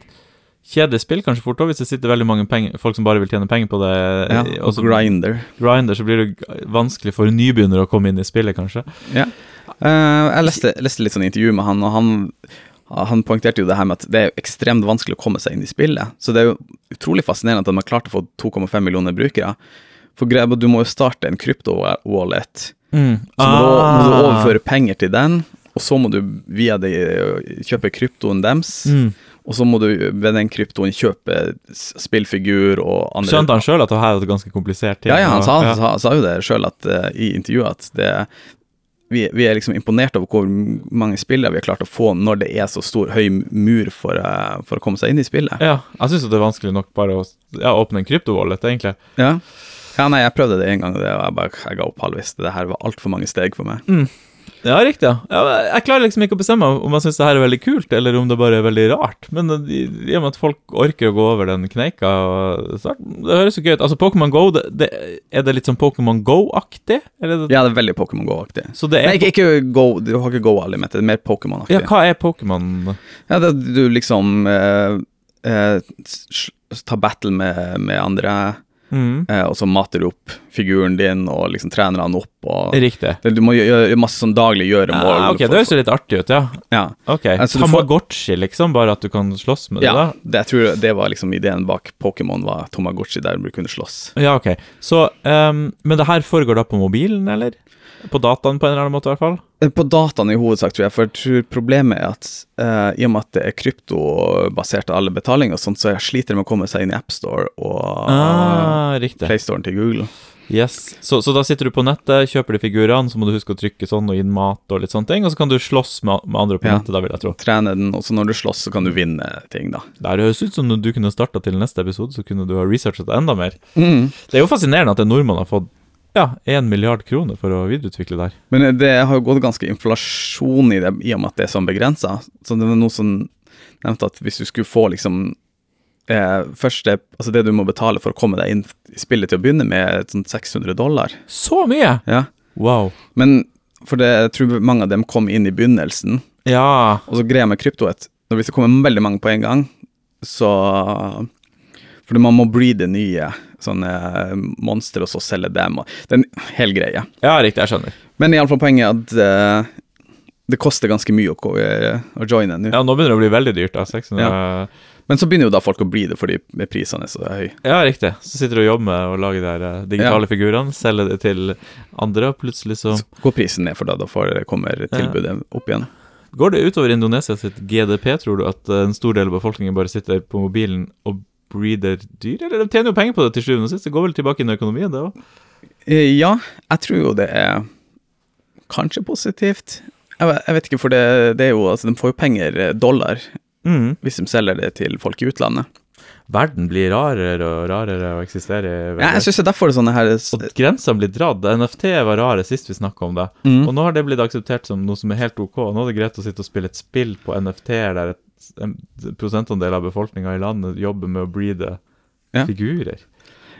Speaker 1: kjedelig spill kanskje fort også, hvis det sitter veldig mange penger, folk som bare vil tjene penger på det.
Speaker 2: Ja,
Speaker 1: eh,
Speaker 2: og
Speaker 1: så
Speaker 2: grinder.
Speaker 1: grinder, så blir det g- vanskelig for nybegynnere å komme inn i spillet, kanskje.
Speaker 2: Ja. Eh, jeg leste, leste litt sånn intervju med han, og han, han poengterte jo det her med at det er jo ekstremt vanskelig å komme seg inn i spillet. Så det er jo utrolig fascinerende at de har klart å få 2,5 millioner brukere. For greia er at du må jo starte en krypto-wallet,
Speaker 1: Mm.
Speaker 2: så må, du, må
Speaker 1: Ah.
Speaker 2: du overføre penger til den, og så må du via det eh, kjøpe kryptoen deres,
Speaker 1: mm.
Speaker 2: og så må du ved den kryptoen kjøpe s- spillfigur og andre
Speaker 1: Skjønte han sjøl at det her er et ganske komplisert ting?
Speaker 2: ja, ja, han
Speaker 1: og-
Speaker 2: sa,
Speaker 1: ja.
Speaker 2: sa, sa jo det sjøl i intervjuet, at det, vi, vi er liksom imponert over hvor mange spillere vi har klart å få når det er så stor høy mur for, eh, for å komme seg inn i spillet.
Speaker 1: Ja, jeg syns det er vanskelig nok bare å s- ja, åpne en kryptovollet, egentlig.
Speaker 2: Ja. ja, nei, jeg prøvde det en gang, og det, og jeg bare jeg ga opp halvvis. Det her var altfor mange steg for meg.
Speaker 1: Ja, riktig. ja. Ja, men jeg klarer liksom ikke å bestemme om jeg syns det her er veldig kult, eller om det bare er veldig rart. Men eh, i i og med at folk orker å gå over den kneika og start, Det høres jo gøy ut. Altså, Pokémon Go, det, det, er det litt sånn Pokémon Go-aktig? Eller er det,
Speaker 2: Ja, det er veldig Pokémon Go-aktig.
Speaker 1: Så det er
Speaker 2: Nei, ikke, ikke Go, du har ikke Go-alimentet, det er mer Pokémon-aktig.
Speaker 1: Ja, hva er Pokémon?
Speaker 2: Ja, det, du liksom eh, eh, s- s- tar battle med, med andre,
Speaker 1: Mm.
Speaker 2: eh, og så mater du opp figuren din, og liksom trener han opp, og
Speaker 1: Riktig.
Speaker 2: Det- Du må gjø- gjøre masse sånn daglig gjøremål.
Speaker 1: Ah, ok,
Speaker 2: for-
Speaker 1: det høres jo litt artig ut, ja.
Speaker 2: ja.
Speaker 1: Ok,
Speaker 2: Altså, du får-
Speaker 1: Tamagotchi, liksom, bare at du kan slåss med det?
Speaker 2: ja,
Speaker 1: da?
Speaker 2: det, jeg tror det var liksom ideen bak Pokémon, var Tomagotchi, der du kunne slåss.
Speaker 1: Ja, ok. Så, ehm, Men det her foregår da på mobilen, eller? På dataen, på en eller annen måte, i hvert fall?
Speaker 2: Eh, På dataene i hovedsak, tror jeg, for jeg tror problemet er at eh, i og med at det er kryptobasert alle betalinger, og sånt, så jeg sliter med å komme seg inn i AppStore og
Speaker 1: Ah, riktig.
Speaker 2: PlayStoren til Google.
Speaker 1: Yes. Så, så da sitter du på nettet, kjøper de figurene, så må du huske å trykke sånn og inn mat og litt sånne ting, og så kan du slåss med, med andre på
Speaker 2: Ja.
Speaker 1: nettet, da vil jeg tro.
Speaker 2: Trene den, og så når du slåss, så kan du vinne ting, da.
Speaker 1: Det her høres ut som når du kunne starta til neste episode, så kunne du ha researchet enda mer.
Speaker 2: Mm.
Speaker 1: Det er jo fascinerende at en nordmann har fått ja, én milliard kroner for å videreutvikle det her.
Speaker 2: Men eh, det har jo gått ganske inflasjon i det, i og med at det er sånn begrensa. Så det var noe som nevnte at hvis du skulle få liksom eh, Først det, altså det du må betale for å komme deg inn i spillet til å begynne med, sånn 600 dollar.
Speaker 1: Så mye!
Speaker 2: Ja.
Speaker 1: Wow.
Speaker 2: Men for det, jeg tror mange av dem kom inn i begynnelsen.
Speaker 1: Ja.
Speaker 2: Og så greia med krypto er at når hvis det kommer veldig mange på en gang, så Fordi man må breede nye sånne eh, monstre, og så selge dem. Og, det er en hel greie.
Speaker 1: Ja, riktig, jeg skjønner.
Speaker 2: Men iallfall poenget er at eh, det koster ganske mye å, ko- eh, å joine nå.
Speaker 1: Ja, nå begynner det å bli veldig dyrt, da. 600
Speaker 2: Men så begynner jo da folk å bli det fordi prisene er så høye.
Speaker 1: Ja, riktig. Så sitter du og jobber med å lage de her, eh, digitale figurene, selger det til andre, og plutselig så
Speaker 2: Så går prisen ned, for da, da får, kommer tilbudet opp igjen.
Speaker 1: Går det utover Indonesia sitt GDP, tror du, at eh, en stor del av befolkningen bare sitter på mobilen og breeder dyr? Eller de tjener jo penger på det til sjuende og sist, det går vel tilbake inn i økonomien, det òg?
Speaker 2: Eh, Ja, jeg tror jo det er kanskje positivt. Jeg, ve- jeg vet ikke, for det, det er jo, altså, de får jo penger, eh, dollar,
Speaker 1: Mm.
Speaker 2: hvis de selger det til folk i utlandet.
Speaker 1: Verden blir rarere og rarere å eksistere i.
Speaker 2: Ja, jeg syns det er derfor det er sånne her s-
Speaker 1: og grensene blir dratt. NFT var rare sist vi snakka om det.
Speaker 2: Mm.
Speaker 1: Og nå har det blitt akseptert som noe som er helt ok. Nå er det greit å sitte og spille et spill på NFT-er der et, en prosentandel av befolkninga i landet jobber med å breede
Speaker 2: Ja.
Speaker 1: figurer.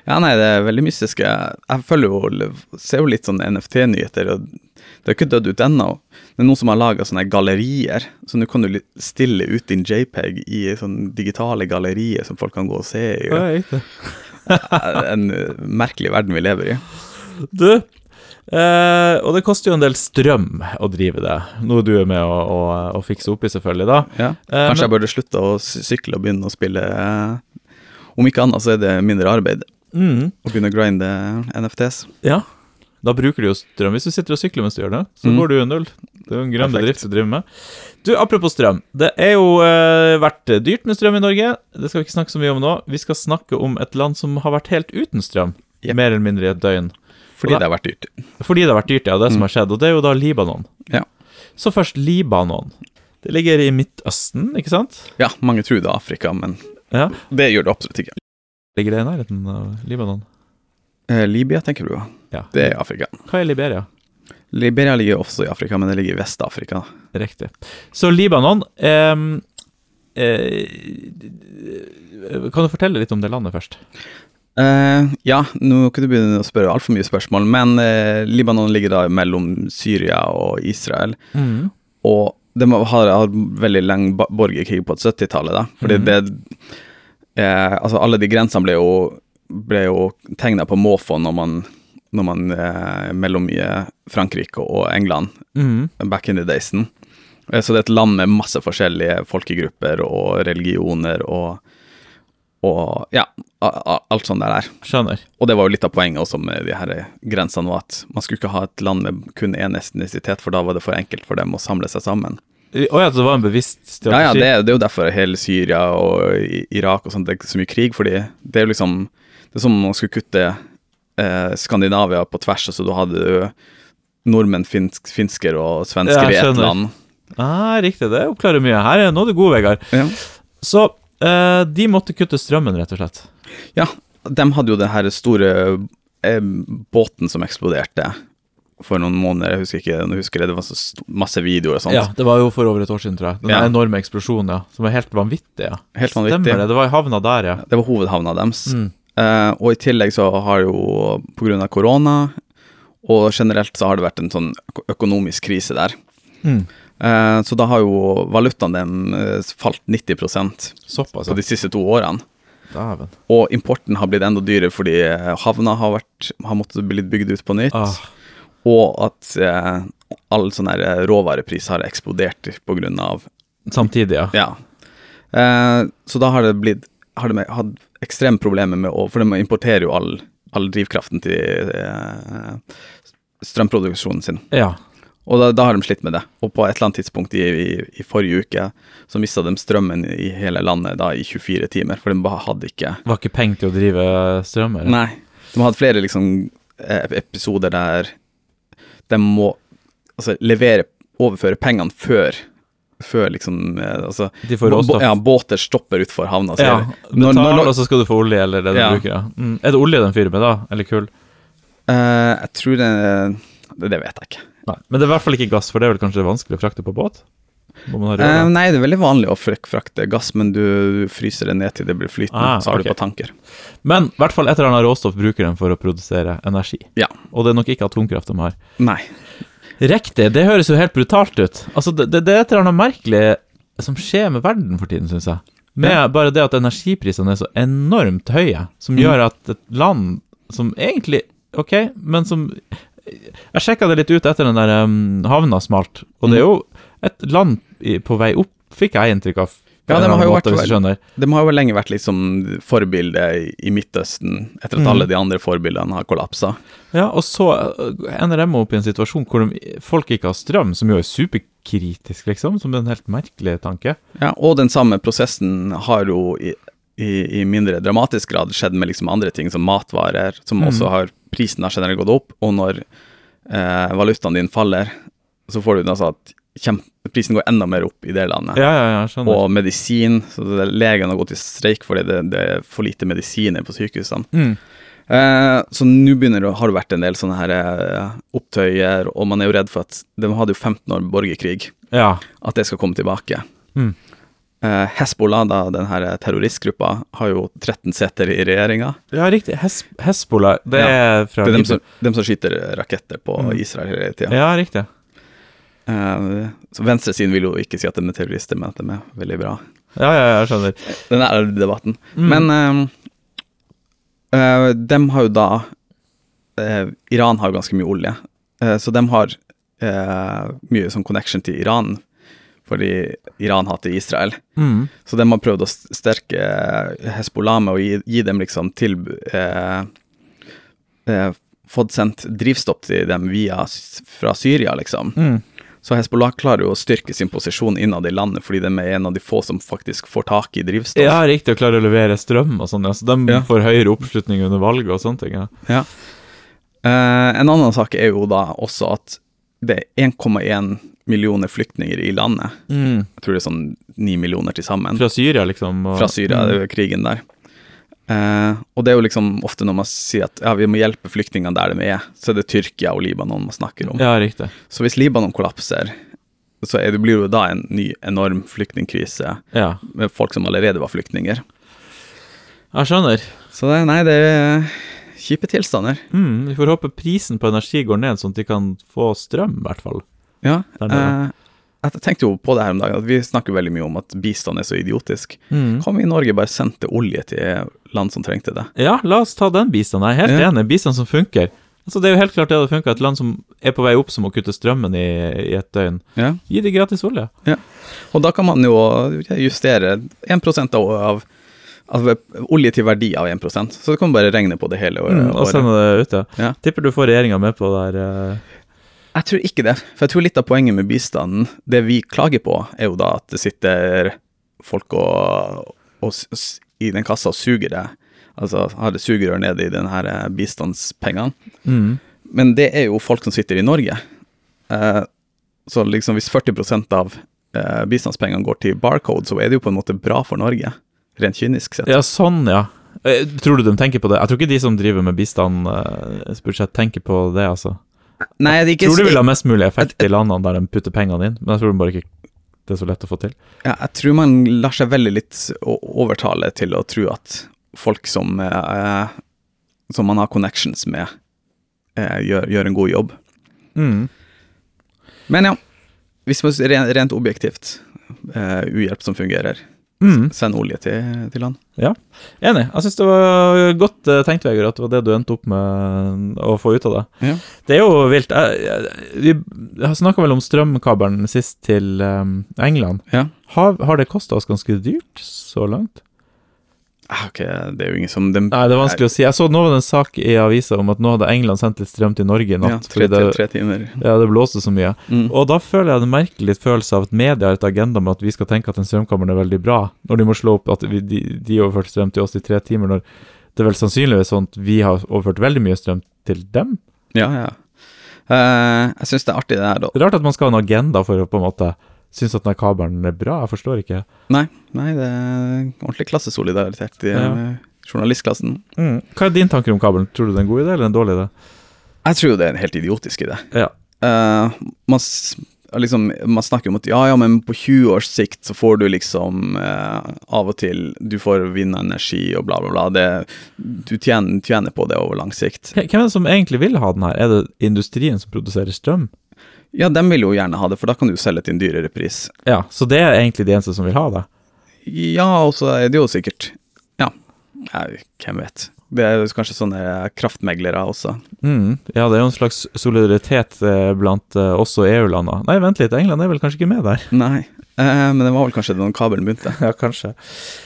Speaker 2: Ja, nei, det er veldig mystisk. Jeg, jeg følger jo, ser jo litt sånn NFT-nyheter, og det er jo ikke dødd ut ennå. Det er noen som har laga sånne gallerier, så nå kan du li- stille ut din JPEG i sånne digitale gallerier som folk kan gå og se i.
Speaker 1: Ja, jeg likte det.
Speaker 2: En eh, merkelig verden vi lever i.
Speaker 1: Du, eh, og det koster jo en del strøm å drive det, noe du er med å, å, å fikse opp i, selvfølgelig, da.
Speaker 2: Ja.
Speaker 1: Eh,
Speaker 2: Kanskje
Speaker 1: men-
Speaker 2: jeg burde slutte å sy- sykle og begynne å spille eh, Om ikke annet så er det mindre arbeid
Speaker 1: Mm,
Speaker 2: å begynne å grinde NFTs.
Speaker 1: ja. Da bruker du jo strøm. Hvis du sitter og sykler mens du gjør det, så
Speaker 2: Mm.
Speaker 1: går du jo null. Det er jo en grønn
Speaker 2: Perfekt.
Speaker 1: bedrift du driver med. Du, apropos strøm. Det er jo eh, vært dyrt med strøm i Norge. Det skal vi ikke snakke så mye om nå. Vi skal snakke om et land som har vært helt uten strøm,
Speaker 2: Yep.
Speaker 1: mer eller mindre i et døgn.
Speaker 2: Fordi det har vært dyrt.
Speaker 1: Fordi det har vært dyrt, ja. Det er det som har skjedd. Og det er jo da Libanon.
Speaker 2: Mm. Ja.
Speaker 1: Så først Libanon. Det ligger i Midtøsten, ikke sant?
Speaker 2: Ja, mange tror det er Afrika, men
Speaker 1: Ja.
Speaker 2: det gjør det absolutt ikke.
Speaker 1: Ligger det i nærheten av Libanon?
Speaker 2: Eh, Libya tenker du på?
Speaker 1: Ja.
Speaker 2: Det er Afrika.
Speaker 1: Hva er Liberia?
Speaker 2: Liberia ligger også i Afrika, men det ligger i Vest-Afrika.
Speaker 1: Riktig. Så Libanon ehm, eh, Kan du fortelle litt om det landet først?
Speaker 2: Eh, ja, nå kan du begynne å spørre altfor mye spørsmål, men eh, Libanon ligger da mellom Syria og Israel. Og de har hatt veldig lenge ba- borgerkrig på 70-tallet, da. Fordi
Speaker 1: Mhm.
Speaker 2: det eh, Altså, alle de grensene ble jo, ble jo tegna på måfå når man, når man eh, mellom eh, Frankrike og England
Speaker 1: Mhm.
Speaker 2: back in the daysen. Eh, Så det er et land med masse forskjellige folkegrupper og religioner og, og ja, a- a- alt sånt der er.
Speaker 1: Skjønner.
Speaker 2: Og det var jo litt av poenget også med de her grensene, var at man skulle ikke ha et land med kun én etnisitet, for da var det for enkelt for dem å samle seg sammen.
Speaker 1: Å ja, så det var en bevisst
Speaker 2: Ja, ja,
Speaker 1: strategi?
Speaker 2: det, er- det er jo derfor hele Syria og I- Irak og sånt, det er ikke så mye krig, fordi det er jo liksom Det er som om man skulle kutte eh, Skandinavia på tvers, så da hadde du nordmenn, finsk, finsker og svensker
Speaker 1: Ja,
Speaker 2: i ett
Speaker 1: skjønner.
Speaker 2: land.
Speaker 1: Ah, riktig, det oppklarer mye. Her er Nå er du god, Vegard.
Speaker 2: Ja.
Speaker 1: Så eh, de måtte kutte strømmen, rett og slett.
Speaker 2: Ja, de hadde jo den her store eh, båten som eksploderte for noen måneder, jeg husker ikke, jeg husker det, det var så st- masse videoer og sånt.
Speaker 1: Ja, Det var jo for over et år siden, tror jeg. Den
Speaker 2: Ja.
Speaker 1: enorme eksplosjonen, ja. Som var helt vanvittig. ja.
Speaker 2: Helt vanvittig.
Speaker 1: Stemmer det. Det var i havna der, ja.
Speaker 2: Det var hovedhavna deres.
Speaker 1: Mm.
Speaker 2: Eh, og i tillegg så har jo, på grunn av korona, og generelt så har det vært en sånn øko- økonomisk krise der.
Speaker 1: Mm.
Speaker 2: Eh, så da har jo valutaen dem eh, falt 90 på
Speaker 1: Såpass, ja.
Speaker 2: de siste to årene.
Speaker 1: Dæven.
Speaker 2: Og importen har blitt enda dyrere fordi eh, havna har, vært, har måttet bli bygd ut på nytt.
Speaker 1: Ah.
Speaker 2: Og at eh, all sånn her råvarepris har eksplodert på grunn av
Speaker 1: Samtidig, ja.
Speaker 2: Ja. Eh, så da har det blitt Har de hatt ekstreme problemer med å For de importerer jo all, all drivkraften til eh, strømproduksjonen sin.
Speaker 1: ja.
Speaker 2: Og da, da har de slitt med det. Og på et eller annet tidspunkt i, i, i forrige uke så mista de strømmen i hele landet da i 24 timer, for de bare hadde ikke
Speaker 1: Var ikke penger til å drive strøm? eller?
Speaker 2: Nei. De har hatt flere liksom, eh, episoder der de må altså, levere, overføre pengene før, før liksom eh, altså,
Speaker 1: De får råstoff.
Speaker 2: ja, Båter stopper utfor havna. så
Speaker 1: Ja,
Speaker 2: gjør de.
Speaker 1: Betal,
Speaker 2: Når- når-
Speaker 1: og så skal du få olje, eller det du
Speaker 2: Ja.
Speaker 1: bruker. Ja. Mm. Er det olje den fyrer med, da? Eller kull?
Speaker 2: eh, jeg tror det, det Det vet jeg ikke.
Speaker 1: Nei. Men det er i hvert fall ikke gass, for det er vel kanskje vanskelig å frakte på båt? Må man ha rør,
Speaker 2: Eh,
Speaker 1: da?
Speaker 2: nei, det er veldig vanlig å frak- frakte gass, men du fryser det ned til det blir flytende,
Speaker 1: Ah,
Speaker 2: så har du
Speaker 1: ok.
Speaker 2: på tanker.
Speaker 1: Men i hvert fall et eller annet råstoff bruker den for å produsere energi.
Speaker 2: Ja.
Speaker 1: Og det er nok ikke atomkraft de har.
Speaker 2: Nei.
Speaker 1: Riktig, det høres jo helt brutalt ut. Altså, det, det, det er et eller annet merkelig som skjer med verden for tiden, syns jeg. Med bare det at energiprisene er så enormt høye,
Speaker 2: Mm.
Speaker 1: som gjør at et land som egentlig Ok, men som Jeg sjekka det litt ut etter den der um, havna smalt, og
Speaker 2: Mm.
Speaker 1: det er jo et land i, på vei opp, fikk jeg inntrykk av. på
Speaker 2: Ja,
Speaker 1: en
Speaker 2: de
Speaker 1: eller
Speaker 2: har jo
Speaker 1: annen
Speaker 2: vært
Speaker 1: hvis du
Speaker 2: vel-
Speaker 1: skjønner.
Speaker 2: De har jo lenge vært liksom forbilde i- i Midtøsten, etter at
Speaker 1: Mm.
Speaker 2: alle de andre forbildene har kollapsa.
Speaker 1: Ja, og så øh, ender de opp i en situasjon hvor de, folk ikke har strøm, som jo er superkritisk, liksom, som er en helt merkelig tanke.
Speaker 2: Ja, og den samme prosessen har jo i, i, i mindre dramatisk grad skjedd med liksom andre ting, som matvarer, som også har prisen har generelt gått opp, og når eh, valutaen din faller, så får du altså at kjem, prisen går enda mer opp i det landet.
Speaker 1: Ja, ja, ja, skjønner.
Speaker 2: Og medisin. så det- Legene har gått i streik fordi det, det er for lite medisiner på sykehusene.
Speaker 1: Mm.
Speaker 2: Eh, så nå begynner det, å- har det vært en del sånne her eh, opptøyer, og man er jo redd for at de hadde jo 15 år borgerkrig,
Speaker 1: Ja.
Speaker 2: at det skal komme tilbake.
Speaker 1: Mm.
Speaker 2: Eh, Hezbollah, da, den her terroristgruppa, har jo 13 seter i regjeringa.
Speaker 1: ja, riktig. Hes Hesbola, det
Speaker 2: Ja.
Speaker 1: er fra
Speaker 2: Det er dem
Speaker 1: Libanon.
Speaker 2: som, dem som skyter raketter på
Speaker 1: Mm.
Speaker 2: Israel hele tida.
Speaker 1: Ja, riktig.
Speaker 2: Eh, så venstresiden vil jo ikke si at de er terrorister, men at de er veldig bra.
Speaker 1: Ja, ja, ja, jeg skjønner.
Speaker 2: Den er debatten.
Speaker 1: Mm.
Speaker 2: Men eh, eh, dem har jo da eh, Iran har jo ganske mye olje, eh, så dem har eh, mye sånn connection til Iran, fordi Iran hater Israel.
Speaker 1: Mm.
Speaker 2: Så de har prøvd å st- sterke Hezbollah med å gi, gi dem liksom tilbud eh, eh, Fått sendt drivstoff til dem via, s- fra Syria, liksom.
Speaker 1: Mm.
Speaker 2: Så Hezbollah klarer jo å styrke sin posisjon innad i landet, fordi de er en av de få som faktisk får tak i drivstoff.
Speaker 1: Ja, riktig å klare å levere strøm og sånn. Ja. Så de
Speaker 2: Ja.
Speaker 1: får høyere oppslutning under valget og sånne ting. Ja.
Speaker 2: Ja. Eh, en annen sak er jo da også at det er 1,1 millioner flyktninger i landet.
Speaker 1: Mm.
Speaker 2: Jeg tror det er sånn 9 millioner til sammen.
Speaker 1: Fra Syria, liksom. Og,
Speaker 2: Fra Syria, det er jo krigen der. Eh, og det er jo liksom ofte når man sier at ja, vi må hjelpe flyktningene der de er, så er det Tyrkia og Libanon man snakker om.
Speaker 1: Mm. Ja, riktig.
Speaker 2: Så hvis Libanon kollapser, så er det, blir det jo da en ny enorm flyktningkrise
Speaker 1: Ja.
Speaker 2: med folk som allerede var flyktninger.
Speaker 1: Jeg skjønner.
Speaker 2: Så det, nei, det er kjipe tilstander.
Speaker 1: Mm, vi får håpe prisen på energi går ned, sånn at de kan få strøm, i hvert fall.
Speaker 2: Ja.
Speaker 1: Der
Speaker 2: Eh,
Speaker 1: nede.
Speaker 2: jeg tenkte jo på det her om dagen, at vi snakker veldig mye om at bistand er så idiotisk.
Speaker 1: Mm.
Speaker 2: Kan vi i Norge bare sendte olje til land som trengte det?
Speaker 1: Ja, la oss ta den bistanden. Jeg er helt
Speaker 2: Ja.
Speaker 1: enig. Bistand som funker. Altså, det er jo helt klart det hadde funka. Et land som er på vei opp, som må kutte strømmen i, i et døgn.
Speaker 2: Ja.
Speaker 1: Gi de gratis olje.
Speaker 2: Ja. Og da kan man jo justere 1 av, av, av olje til verdi av 1 så du kan man bare regne på det hele året.
Speaker 1: Mm, og sende det ut, ja.
Speaker 2: Ja.
Speaker 1: Tipper du får regjeringa med på det her. eh.
Speaker 2: Jeg tror ikke det, for jeg tror litt av poenget med bistanden, det vi klager på, er jo da at det sitter folk og, og, s- s- i den kassa og suger det. Altså har det sugerør nede i den her eh, bistandspengene.
Speaker 1: Mm.
Speaker 2: Men det er jo folk som sitter i Norge. Eh, så liksom hvis 40 av eh, bistandspengene går til barcode, så er det jo på en måte bra for Norge, rent kynisk sett.
Speaker 1: Ja, sånn, ja. Eh, Tror du de tenker på det? Jeg tror ikke de som driver med bistandsbudsjett, tenker på det, altså.
Speaker 2: Nei, det er ikke,
Speaker 1: Tror du
Speaker 2: jeg,
Speaker 1: vil ha mest mulig effekt i landene der de putter pengene inn, men jeg tror de bare ikke det er så lett å få til.
Speaker 2: ja, jeg tror man lar seg veldig litt å- overtale til å tro at folk som, eh, som man har connections med, eh, gjør, gjør en god jobb.
Speaker 1: Mm.
Speaker 2: Men ja, hvis man s- rent, rent objektivt, eh, uhjelp som fungerer,
Speaker 1: Mm.
Speaker 2: send olje til, til land.
Speaker 1: Enig. Jeg syns det var godt eh, tenkt, Vegard, at det var det du endte opp med eh, å få ut av det.
Speaker 2: Ja.
Speaker 1: Det er jo vilt. Jeg, jeg, vi snakka vel om strømkabelen sist til eh, England.
Speaker 2: Ja.
Speaker 1: Har, har det kosta oss ganske dyrt så langt?
Speaker 2: Ah, Ok, det er jo ingen som den,
Speaker 1: Nei, det er vanskelig å si. Jeg så nå var det en sak i avisa om at nå hadde England sendt litt strøm til Norge i
Speaker 2: ja,
Speaker 1: natt.
Speaker 2: tre,
Speaker 1: fordi
Speaker 2: tre,
Speaker 1: det,
Speaker 2: tre timer.
Speaker 1: ja, det blåste så mye.
Speaker 2: Mm.
Speaker 1: Og da føler jeg det merker litt følelse av at media har et agenda med at vi skal tenke at en strømkabel er veldig bra, når de må slå opp at vi, de, de overførte strøm til oss i tre timer, når det er vel sannsynligvis sånn at vi har overført veldig mye strøm til dem.
Speaker 2: Ja, ja. Eh, jeg syns det er artig det her, da.
Speaker 1: Det er rart at man skal ha en agenda for å på en måte synes at denne kabelen er bra, jeg forstår ikke.
Speaker 2: Nei, nei, det er ordentlig klassesolidaritet i
Speaker 1: Ja.
Speaker 2: eh, journalistklassen.
Speaker 1: Hva er din tanker om kabelen? Tror du det er en god idé eller en dårlig idé?
Speaker 2: Jeg tror jo det er en helt idiotisk idé.
Speaker 1: Ja.
Speaker 2: Eh, man, s- liksom, man snakker om at ja, ja, men på 20 års sikt så får du liksom eh, av og til Du får vinne energi og bla, bla, bla. Det, du tjener, tjener på det over lang sikt.
Speaker 1: Hvem er det som egentlig vil ha den her? Er det industrien som produserer strøm?
Speaker 2: Ja, dem vil jo gjerne ha det, for da kan du jo selge til en dyrere pris.
Speaker 1: Ja, så det er egentlig de eneste som vil ha det.
Speaker 2: Ja, og så er det jo sikkert Ja, nei, hvem vet. Det er jo kanskje sånne kraftmeglere også.
Speaker 1: Mm, ja, det er jo en slags solidaritet eh, blant eh, oss og EU-landene. Nei, vent litt, England er vel kanskje ikke med der?
Speaker 2: Nei. Eh, men det var vel kanskje da kabelen begynte.
Speaker 1: Ja, kanskje.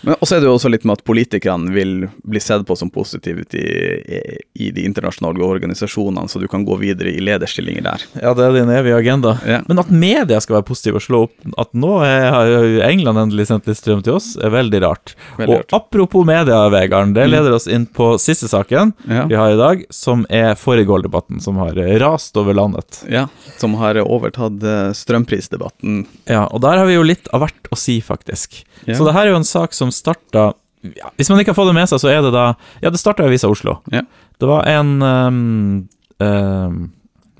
Speaker 2: Men også er det jo også litt med at politikerne vil bli sett på som positive i, i de internasjonale organisasjonene, så du kan gå videre i lederstillinger der.
Speaker 1: Ja, det er din evige agenda.
Speaker 2: Ja.
Speaker 1: Men at media skal være positive og slå opp at nå er- har England endelig sendt litt strøm til oss, er veldig rart.
Speaker 2: Veldig Mm.
Speaker 1: og apropos media, Vegard, det leder oss inn på siste saken
Speaker 2: Ja.
Speaker 1: vi har i dag, som er foregående-debatten, som har rast over landet.
Speaker 2: Ja, Som har overtatt eh, strømprisdebatten.
Speaker 1: Ja, og der har vi jo litt av hvert å si, faktisk.
Speaker 2: Ja.
Speaker 1: Så det her er jo en sak som starta ja, Hvis man ikke har fått det med seg, så er det da Ja, det starta i Avisa Oslo.
Speaker 2: Ja.
Speaker 1: Det var en ehm, ehm,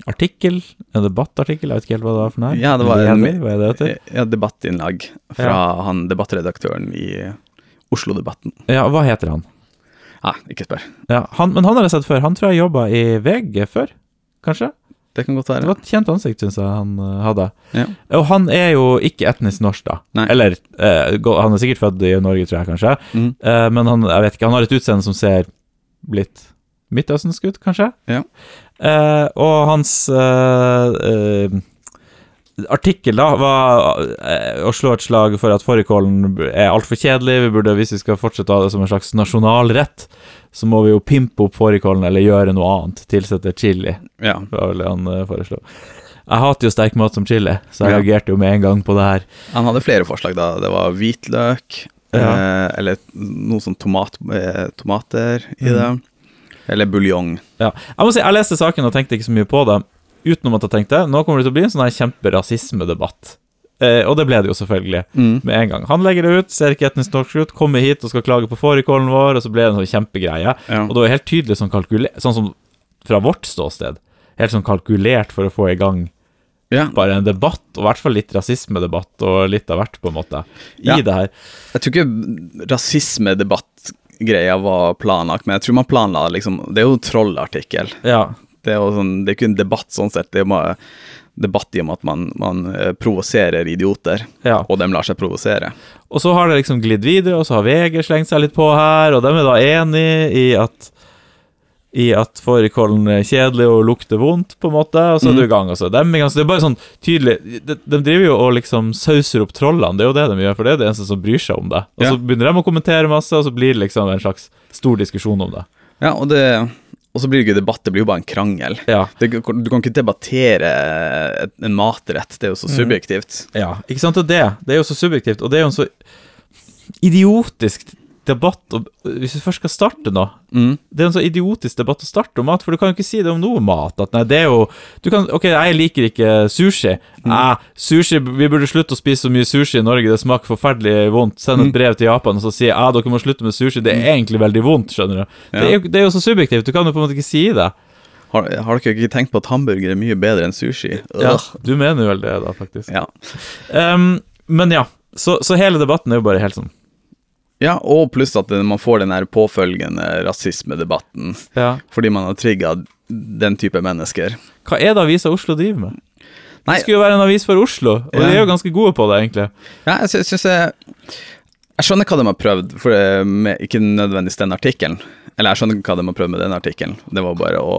Speaker 1: artikkel, en debattartikkel, jeg vet ikke helt hva det var for noe.
Speaker 2: Ja, det var en-
Speaker 1: Leder, Hva er det heter?
Speaker 2: eh, Ja, debattinnlag fra han debattredaktøren i Oslo-debatten.
Speaker 1: Ja, hva heter han?
Speaker 2: Ja, ikke spør.
Speaker 1: Ja, han? Men han har jeg sett før. Han tror jeg jobba i VG før, kanskje?
Speaker 2: Det kan godt
Speaker 1: Det
Speaker 2: være.
Speaker 1: var et kjent ansikt, syns jeg han eh, hadde.
Speaker 2: Ja.
Speaker 1: Og han er jo ikke etnisk norsk, da.
Speaker 2: Nei.
Speaker 1: Eller eh, gå- han er sikkert født i Norge, tror jeg kanskje.
Speaker 2: Mhm.
Speaker 1: Eh, men han, jeg vet ikke, han har et utseende som ser litt midtøstensk ut, kanskje.
Speaker 2: Ja.
Speaker 1: Eh, og hans eh, eh, artikkel da var eh, å slå et slag for at fårikålen er altfor kjedelig. Vi burde, hvis vi skal fortsette å ha det som en slags nasjonalrett, så må vi jo pimpe opp fårikålen eller gjøre noe annet. Tilsette chili
Speaker 2: Ja.
Speaker 1: var vel det han eh, foreslo. Jeg hater jo sterk mat som chili, så jeg
Speaker 2: Ja.
Speaker 1: reagerte jo med en gang på det her.
Speaker 2: Han hadde flere forslag da. Det var hvitløk,
Speaker 1: Ja.
Speaker 2: eh, eller noe sånn tomat, eh, tomater i det. Eller buljong.
Speaker 1: Ja. Jeg må si, jeg leste saken og tenkte ikke så mye på det, utenom at jeg tenkte nå kommer det til å bli en sånn her kjemperasismedebatt. Eh, og det ble det jo selvfølgelig, med en gang. Han legger det ut, ser ikke etnisk norsk ut, kommer hit og skal klage på fårikålen vår, og så ble det en sånn kjempegreie.
Speaker 2: Ja.
Speaker 1: Og det var helt tydelig sånn kalkulert, sånn som fra vårt ståsted, helt sånn kalkulert for å få i gang
Speaker 2: Ja,
Speaker 1: bare en debatt, og i hvert fall litt rasismedebatt og litt av hvert, på en måte, i
Speaker 2: Ja.
Speaker 1: det her.
Speaker 2: Jeg tror ikke rasismedebattgreia var planlagt, men jeg tror man planla liksom Det er jo en trollartikkel.
Speaker 1: Ja.
Speaker 2: Det er jo sånn, det er ikke en debatt sånn sett, det er bare debatt i om at man, man eh, provoserer idioter,
Speaker 1: Ja.
Speaker 2: og de lar seg provosere.
Speaker 1: Og så har det liksom glidd videre, og så har VG slengt seg litt på her, og de er da enig i at i at fårikålen er kjedelig og lukter vondt, på en måte, og så er du i gang, og så er dem i gang. Så det er bare sånn tydelig De, de driver jo og liksom sauser opp trollene, det er jo det de gjør, for det er det eneste som bryr seg om det. Og
Speaker 2: Ja.
Speaker 1: så begynner de å kommentere masse, og så blir det liksom en slags stor diskusjon om det.
Speaker 2: Ja, og det og så blir det ikke debatt, det blir jo bare en krangel.
Speaker 1: Ja.
Speaker 2: Det, du kan ikke debattere et- en matrett, det er jo så subjektivt.
Speaker 1: Ja, ikke sant? Og det, det er jo så subjektivt, og det er jo en så idiotisk debatt om, Hvis du først skal starte nå Det er en så idiotisk debatt å starte om mat, for du kan jo ikke si det om noe mat. At nei, det er jo du kan, Ok, jeg liker ikke sushi. Eh, sushi. Vi burde slutte å spise så mye sushi i Norge, det smaker forferdelig vondt. Send et brev til Japan og så si ja, dere må slutte med sushi, det er egentlig veldig vondt, skjønner du. Det, er jo, det er jo så subjektivt, du kan jo på en måte ikke si det.
Speaker 2: Har, har dere ikke tenkt på at hamburger er mye bedre enn sushi?
Speaker 1: Ja,
Speaker 2: Ugh.
Speaker 1: du mener jo vel det, da, faktisk.
Speaker 2: Ja.
Speaker 1: Ehm, men ja, så, så hele debatten er jo bare helt sånn
Speaker 2: ja, og pluss at eh, man får den her påfølgende rasismedebatten.
Speaker 1: ja.
Speaker 2: fordi man har trigga den type mennesker.
Speaker 1: Hva er det Avisa Oslo driver med?
Speaker 2: Nei.
Speaker 1: Det skulle jo være en avis for Oslo, og
Speaker 2: Ja.
Speaker 1: de er jo ganske gode på det, egentlig.
Speaker 2: Ja, jeg sy- syns jeg Jeg skjønner hva de har prøvd, for eh, med, ikke nødvendigvis den artikkelen. Eller jeg skjønner hva de har prøvd med den artikkelen. Det var bare å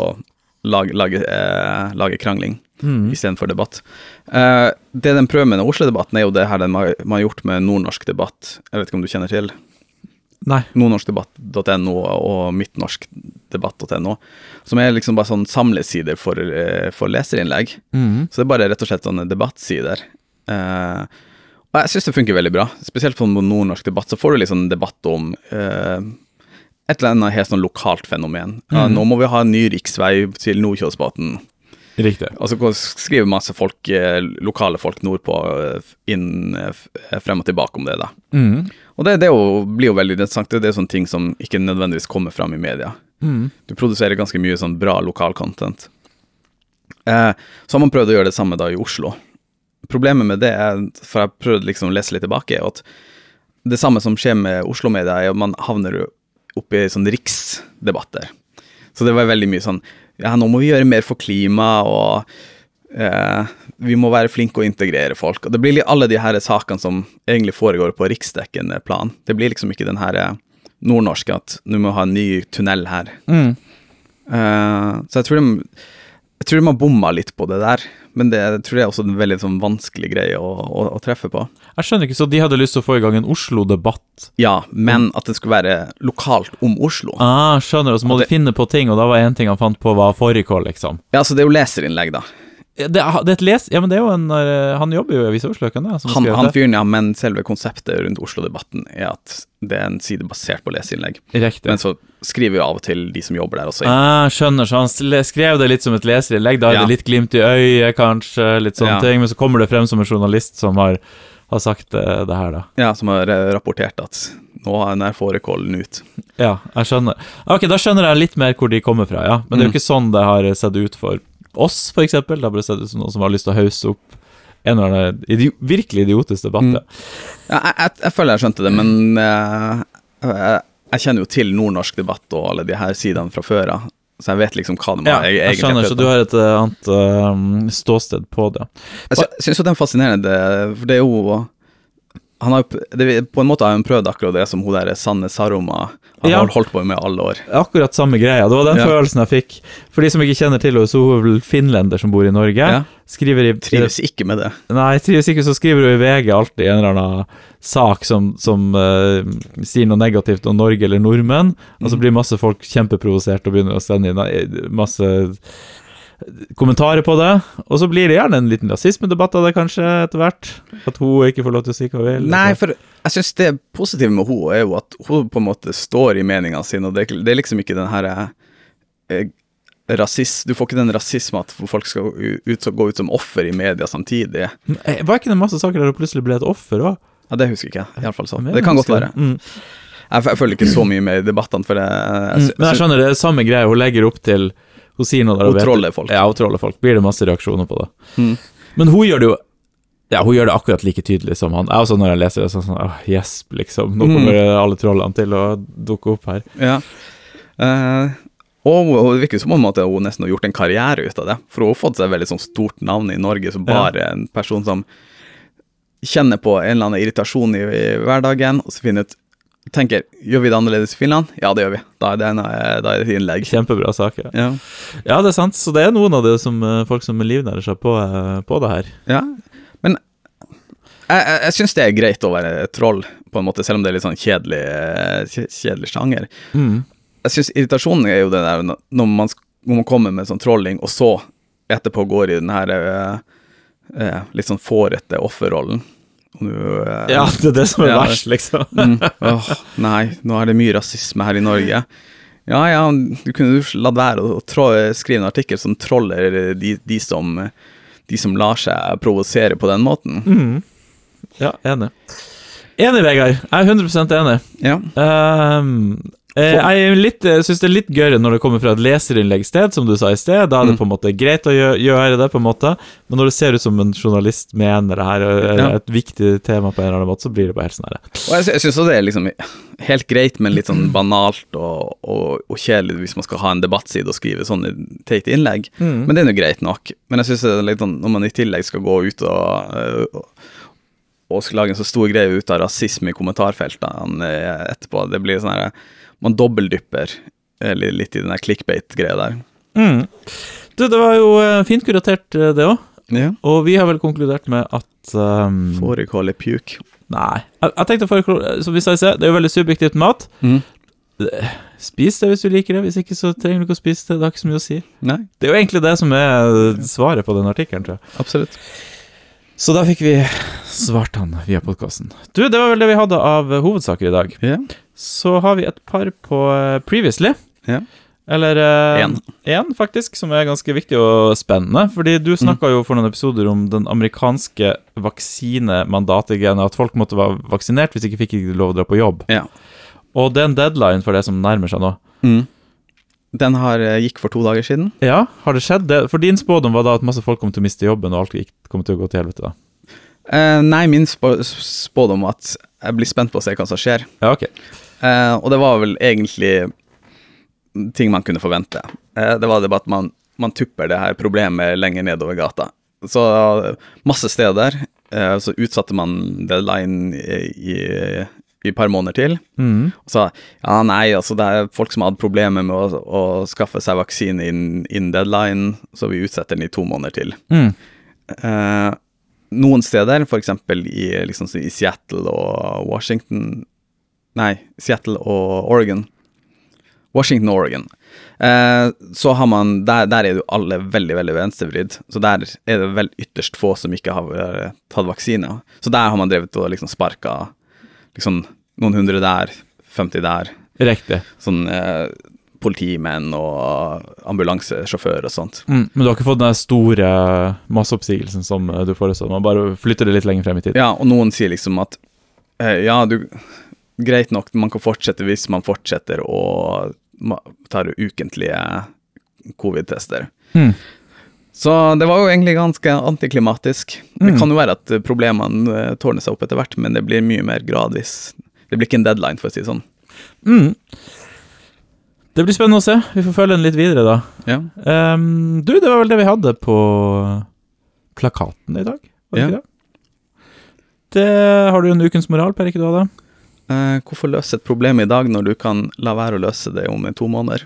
Speaker 2: lage, lage, eh, lage krangling istedenfor debatt. Eh, det de prøver med den Oslo-debatten, er jo det her de har, man har gjort med nordnorsk debatt. Jeg vet ikke om du kjenner til?
Speaker 1: Nei.
Speaker 2: nordnorskdebatt.no og midtnorskdebatt.no, som er liksom bare sånn samlesider for, eh, for leserinnlegg. Så det er bare rett og slett sånne debattsider. Eh, og jeg syns det funker veldig bra. Spesielt på nordnorsk debatt, så får du liksom en debatt om eh, et eller annet helt sånn lokalt fenomen. Ja, nå må vi ha en ny riksvei til Nordkjosbotn.
Speaker 1: Riktig.
Speaker 2: Og så går- skriver masse folk, eh, lokale folk nordpå eh, inn eh, f- frem og tilbake om det, da.
Speaker 1: Mm.
Speaker 2: Og det, det er jo, blir jo veldig interessant. Det er sånne ting som ikke nødvendigvis kommer fram i media. Du produserer ganske mye sånn bra lokal content. Eh, så har man prøvd å gjøre det samme da i Oslo. Problemet med det, er, for jeg prøvde liksom å lese litt tilbake, er at det samme som skjer med Oslo-media, er at man havner oppi sånne riksdebatter. Så det var veldig mye sånn Ja, nå må vi gjøre mer for klima, og eh, vi må være flinke å integrere folk. Og det blir litt alle de her sakene som egentlig foregår på riksdekkende plan. Det blir liksom ikke den her eh, nordnorske at nå må vi ha en ny tunnel her. Eh, så jeg tror de Jeg tror man bomma litt på det der, men det jeg tror jeg er også en veldig sånn vanskelig greie å, å, å treffe på.
Speaker 1: Jeg skjønner ikke, så de hadde lyst til å få i gang en Oslo-debatt.
Speaker 2: Ja, men at det skulle være lokalt om Oslo.
Speaker 1: Ah, skjønner, og så må de finne på ting, og da var en ting han fant på var fårikål, liksom.
Speaker 2: Ja, så det er jo leserinnlegg, da.
Speaker 1: Ja, Det, er- det er et les... Ja, men det er jo en eh, Han jobber jo i Avisa Oslo, ikke sant?
Speaker 2: Han, han fyren, ja, men selve konseptet rundt Oslo-debatten er at det er en side basert på leserinnlegg.
Speaker 1: Riktig.
Speaker 2: Men så skriver jo av og til de som jobber der også.
Speaker 1: Ah, skjønner, så han sle- skrev det litt som et leserinnlegg. Da er
Speaker 2: Ja.
Speaker 1: det litt glimt i øyet, kanskje, litt sånne
Speaker 2: Ja.
Speaker 1: ting. Men så kommer det frem som en journalist som har, har sagt eh, det her, da.
Speaker 2: Ja, som har eh, rapportert at nå er den her fårikålen ut.
Speaker 1: Ja, jeg skjønner. Ok, da skjønner jeg litt mer hvor de kommer fra, ja. Men det er jo ikke sånn det har sett ut for oss, for eksempel. Det har bare sett ut som noen som har lyst til å hausse opp en eller annen idi virkelig idiotisk debatt. ja.
Speaker 2: Ja, jeg, jeg, jeg føler jeg skjønte det, men eh, jeg, jeg kjenner jo til nordnorsk debatt og alle de her sidene fra før av, så jeg vet liksom hva de
Speaker 1: Ja,
Speaker 2: har
Speaker 1: jeg skjønner, så du har et eh, annet eh, ståsted på det.
Speaker 2: Jeg sy- jeg syns jo den er fascinerende, det- for det er jo han har, jo p- det, På en måte har han prøvd akkurat det som hun der Sanne Saroma har
Speaker 1: Ja.
Speaker 2: holdt på med alle år.
Speaker 1: Akkurat samme greia. Det var den
Speaker 2: Ja.
Speaker 1: følelsen jeg fikk. For de som ikke kjenner til henne, så er hun vel finlender som bor i Norge.
Speaker 2: Ja.
Speaker 1: Skriver i
Speaker 2: Trives ikke med det.
Speaker 1: Nei, trives ikke, så skriver hun i VG alltid en eller annen sak som, som eh, sier noe negativt om Norge eller nordmenn, og så
Speaker 2: Mm.
Speaker 1: blir masse folk kjempeprovosert og begynner å sende inn eh, masse eh, kommentarer på det, og så blir det gjerne en liten rasismedebatt av det kanskje etter hvert, at hun ikke får lov til å si hva hun vil.
Speaker 2: Nei, for jeg syns det positive med henne er jo at hun på en måte står i meninga si, og det, er ikke- det er liksom ikke den her eh, rasist, Du får ikke den rasisme at folk skal u- ut, gå ut som offer i media samtidig.
Speaker 1: Eh, Var ikke det masse saker der hun plutselig ble et offer òg?
Speaker 2: Ja, Det husker ikke jeg, iallfall sånn. Det kan godt være.
Speaker 1: Mm.
Speaker 2: Jeg, f- jeg følger ikke så mye med i debattene, for jeg, jeg,
Speaker 1: Mm,
Speaker 2: sy-
Speaker 1: Men jeg skjønner det er samme greia hun legger opp til. Hun sier noe der og
Speaker 2: Hun
Speaker 1: vet-
Speaker 2: troller folk.
Speaker 1: Ja, hun troller folk. Blir det masse reaksjoner på det.
Speaker 2: Mm.
Speaker 1: Men hun gjør det jo Ja, hun gjør det akkurat like tydelig som han. Jeg også når jeg leser det, sånn sånn åh, gjesp, liksom.
Speaker 2: Mm.
Speaker 1: Nå kommer alle trollene til å dukke opp her.
Speaker 2: Ja. Eh, og hun- hun- det virker som om at hun nesten har gjort en karriere ut av det. For hun har fått seg et veldig sånn stort navn i Norge som
Speaker 1: Ja.
Speaker 2: bare en person som kjenner på en eller annen irritasjon i, i hverdagen, og så finner ut Tenker gjør vi det annerledes i Finland? Ja, det gjør vi. Da er det, en, eh, da er det et innlegg.
Speaker 1: Kjempebra saker.
Speaker 2: Ja.
Speaker 1: Ja, det er sant. Så det er noen av det som eh, folk som livnærer seg på, eh, på det her.
Speaker 2: ja. Men jeg, jeg, jeg syns det er greit å være troll, på en måte, selv om det er litt sånn kjedelig, eh, kje- kjedelig sjanger.
Speaker 1: Mm.
Speaker 2: jeg syns irritasjonen er jo det der når når man, sk- når man kommer med sånn trolling, og så etterpå går i den her eh, eh, litt sånn fårete offerrollen. Og du, eh,
Speaker 1: Ja, det er det som er
Speaker 2: Ja.
Speaker 1: verst, liksom.
Speaker 2: mm, åh, nei, nå er det mye rasisme her i Norge. Ja ja, du kunne jo latt være å trå, skrive en artikkel som troller de, de, som, de som lar seg provosere på den måten.
Speaker 1: Mm. Ja, enig. Enig, Vegard. Jeg er 100 enig.
Speaker 2: Ja.
Speaker 1: Ehm, eh, jeg er litt, eh, synes det er litt gøyere når det kommer fra et leserinnleggssted, som du sa i sted. Da er det på en måte greit å gjø- gjøre det, på en måte. men når det ser ut som en journalist mener det her, og er
Speaker 2: Ja.
Speaker 1: et viktig tema på en eller annen måte, så blir det bare helt sånn her.
Speaker 2: Og jeg, sy- jeg syns også det er liksom helt greit, men litt sånn banalt og, og, og kjedelig hvis man skal ha en debattside og skrive sånne teite innlegg. Men det er nå greit nok. Men jeg syns litt sånn når man i tillegg skal gå ut og, øh, og, og skal lage en så stor greie ut av rasisme i kommentarfeltene øh, etterpå, det blir sånn her Man dobbeldypper øh, li- litt i den der clickbait-greia der.
Speaker 1: Mm. Du, det var jo eh, fint kuratert, eh, det òg.
Speaker 2: Ja.
Speaker 1: Og vi har vel konkludert med at ehm,
Speaker 2: Fårikål i pjuk.
Speaker 1: Nei. Jeg, jeg tenkte for, Som vi sa i sted, det er jo veldig subjektivt mat.
Speaker 2: Mm.
Speaker 1: Spis det hvis du liker det, hvis ikke så trenger du ikke å spise det. Det har ikke så mye å si.
Speaker 2: Nei,
Speaker 1: Det er jo egentlig det som er svaret på den artikkelen, tror jeg.
Speaker 2: absolutt.
Speaker 1: Så da fikk vi svart han via podkasten. Du, det var vel det vi hadde av eh, hovedsaker i dag.
Speaker 2: Ja.
Speaker 1: Så har vi et par på eh, Previously.
Speaker 2: Ja.
Speaker 1: Eller eh,
Speaker 2: En.
Speaker 1: en, faktisk, som er ganske viktig og spennende. Fordi du snakka jo for noen episoder om den amerikanske vaksinemandatet-genet. At folk måtte være vaksinert, hvis ikke fikk de lov å dra på jobb.
Speaker 2: Ja.
Speaker 1: Og det er en deadline for det som nærmer seg nå.
Speaker 2: Mm. Den har, øh, gikk for to dager siden.
Speaker 1: Ja, har det skjedd? Det, for din spådom var da at masse folk kom til å miste jobben, og alt gikk, kom til å gå til helvete, da.
Speaker 2: Eh, nei, min spå spådom var at jeg blir spent på å se hva som skjer.
Speaker 1: Ja, ok.
Speaker 2: Eh, og det var vel egentlig ting man kunne forvente. Eh, det var det bare at man, man tupper det her problemet lenger nedover gata. Så masse steder eh, så utsatte man deadline i, i, i et par måneder til.
Speaker 1: Mm.
Speaker 2: Og sa ja, nei, altså det er folk som har hatt problemer med å, å skaffe seg vaksine innen innen deadline, så vi utsetter den i to måneder til.
Speaker 1: Mm.
Speaker 2: Eh, noen steder, f.eks. I, liksom, i Seattle og Washington Nei, Seattle og Oregon. Washington og Oregon. Eh, så har man, der, der er jo alle veldig veldig venstrevridd, så der er det vel ytterst få som ikke har eh, tatt vaksine. Så der har man drevet og liksom sparka liksom, noen hundre der, 50 der.
Speaker 1: Riktig.
Speaker 2: Sånn eh, politimenn og ambulansesjåfør og sånt.
Speaker 1: Mm. Men du har ikke fått den der store masseoppsigelsen som eh, du foreså? Man bare flytter det litt lenger frem i tid?
Speaker 2: Ja, og noen sier liksom at eh, ja, du, greit nok, man kan fortsette hvis man fortsetter å ma- tar ukentlige covid-tester.
Speaker 1: Mm.
Speaker 2: Så det var jo egentlig ganske antiklimatisk. Det
Speaker 1: Mm.
Speaker 2: kan jo være at eh, problemene eh, tårner seg opp etter hvert, men det blir mye mer gradvis. Det blir ikke en deadline, for å si det sånn.
Speaker 1: Mm. Det blir spennende å se. Vi får følge den litt videre, da.
Speaker 2: Ja.
Speaker 1: Ehm, du, det var vel det vi hadde på plakaten i dag, var det
Speaker 2: Ja.
Speaker 1: ikke det? Det har du en ukens moral, Per, ikke du hadde?
Speaker 2: Eh, hvorfor løse et problem i dag når du kan la være å løse det om to måneder?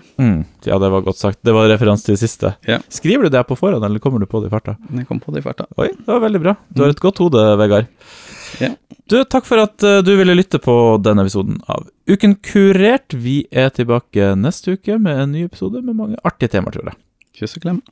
Speaker 1: Ja, det var godt sagt. Det var referanse til det siste.
Speaker 2: Mm. Ja.
Speaker 1: Skriver du det på forhånd, eller kommer du på det i farta?
Speaker 2: Jeg kom på det i farta.
Speaker 1: Oi, det var veldig bra. Du har et godt hode, Vegard.
Speaker 2: Ja.
Speaker 1: Du, takk for at eh, du ville lytte på denne episoden av Uken kurert. Vi er tilbake neste uke med en ny episode med mange artige temaer, tror jeg.
Speaker 2: Kyss og klem.